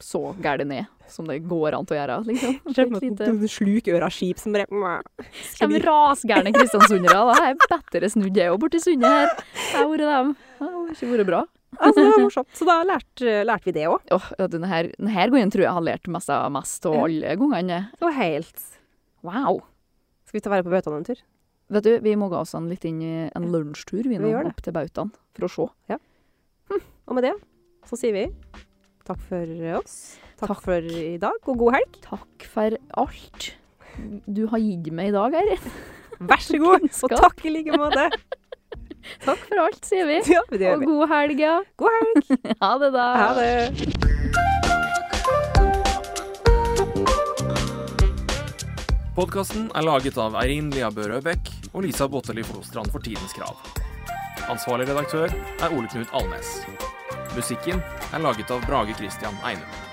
Speaker 3: så gæli ned som det går an til å gjøre, liksom.
Speaker 2: Ser for
Speaker 3: Et
Speaker 2: meg
Speaker 3: lite-
Speaker 2: to slukøra skip som bare
Speaker 3: De
Speaker 2: sklir.
Speaker 3: rasgærne kristiansundere, da. Jeg er bedre snudd jeg òg borti sundet her. Jeg har vært dem. Det har ikke vært bra.
Speaker 2: Altså, det var morsomt. Så da lærte, lærte vi det òg.
Speaker 3: Åh, ja, denne, her, denne her gangen tror jeg jeg har lært mest av mest av
Speaker 2: Ja.
Speaker 3: alle gangene.
Speaker 2: Det var helt
Speaker 3: Wow.
Speaker 2: Skal vi ta være på Bøtan en tur?
Speaker 3: Vet du, vi må ga oss en liten eh, en lunsjtur vi nå,
Speaker 2: gjør det.
Speaker 3: opp til bautaen for å se.
Speaker 2: Og med det så sier vi takk for oss. Takk, for i dag, og god helg.
Speaker 3: Takk for alt du har gitt meg i dag, Eirin.
Speaker 2: Vær så god. Og
Speaker 3: Kunnskap.
Speaker 2: takk i like måte.
Speaker 3: Takk for alt, sier vi.
Speaker 2: Ja, det gjør
Speaker 3: Og
Speaker 2: vi.
Speaker 3: god helg, ja.
Speaker 2: God helg.
Speaker 3: Ha det, da.
Speaker 2: Ha det.
Speaker 1: Podkasten er laget av Eirin Lia Bø Røbekk og Lisa Botteli Flostrand for Tidens Krav. Ansvarlig redaktør er Ole Knut Alnes. Musikken er laget av Brage Christian Einem.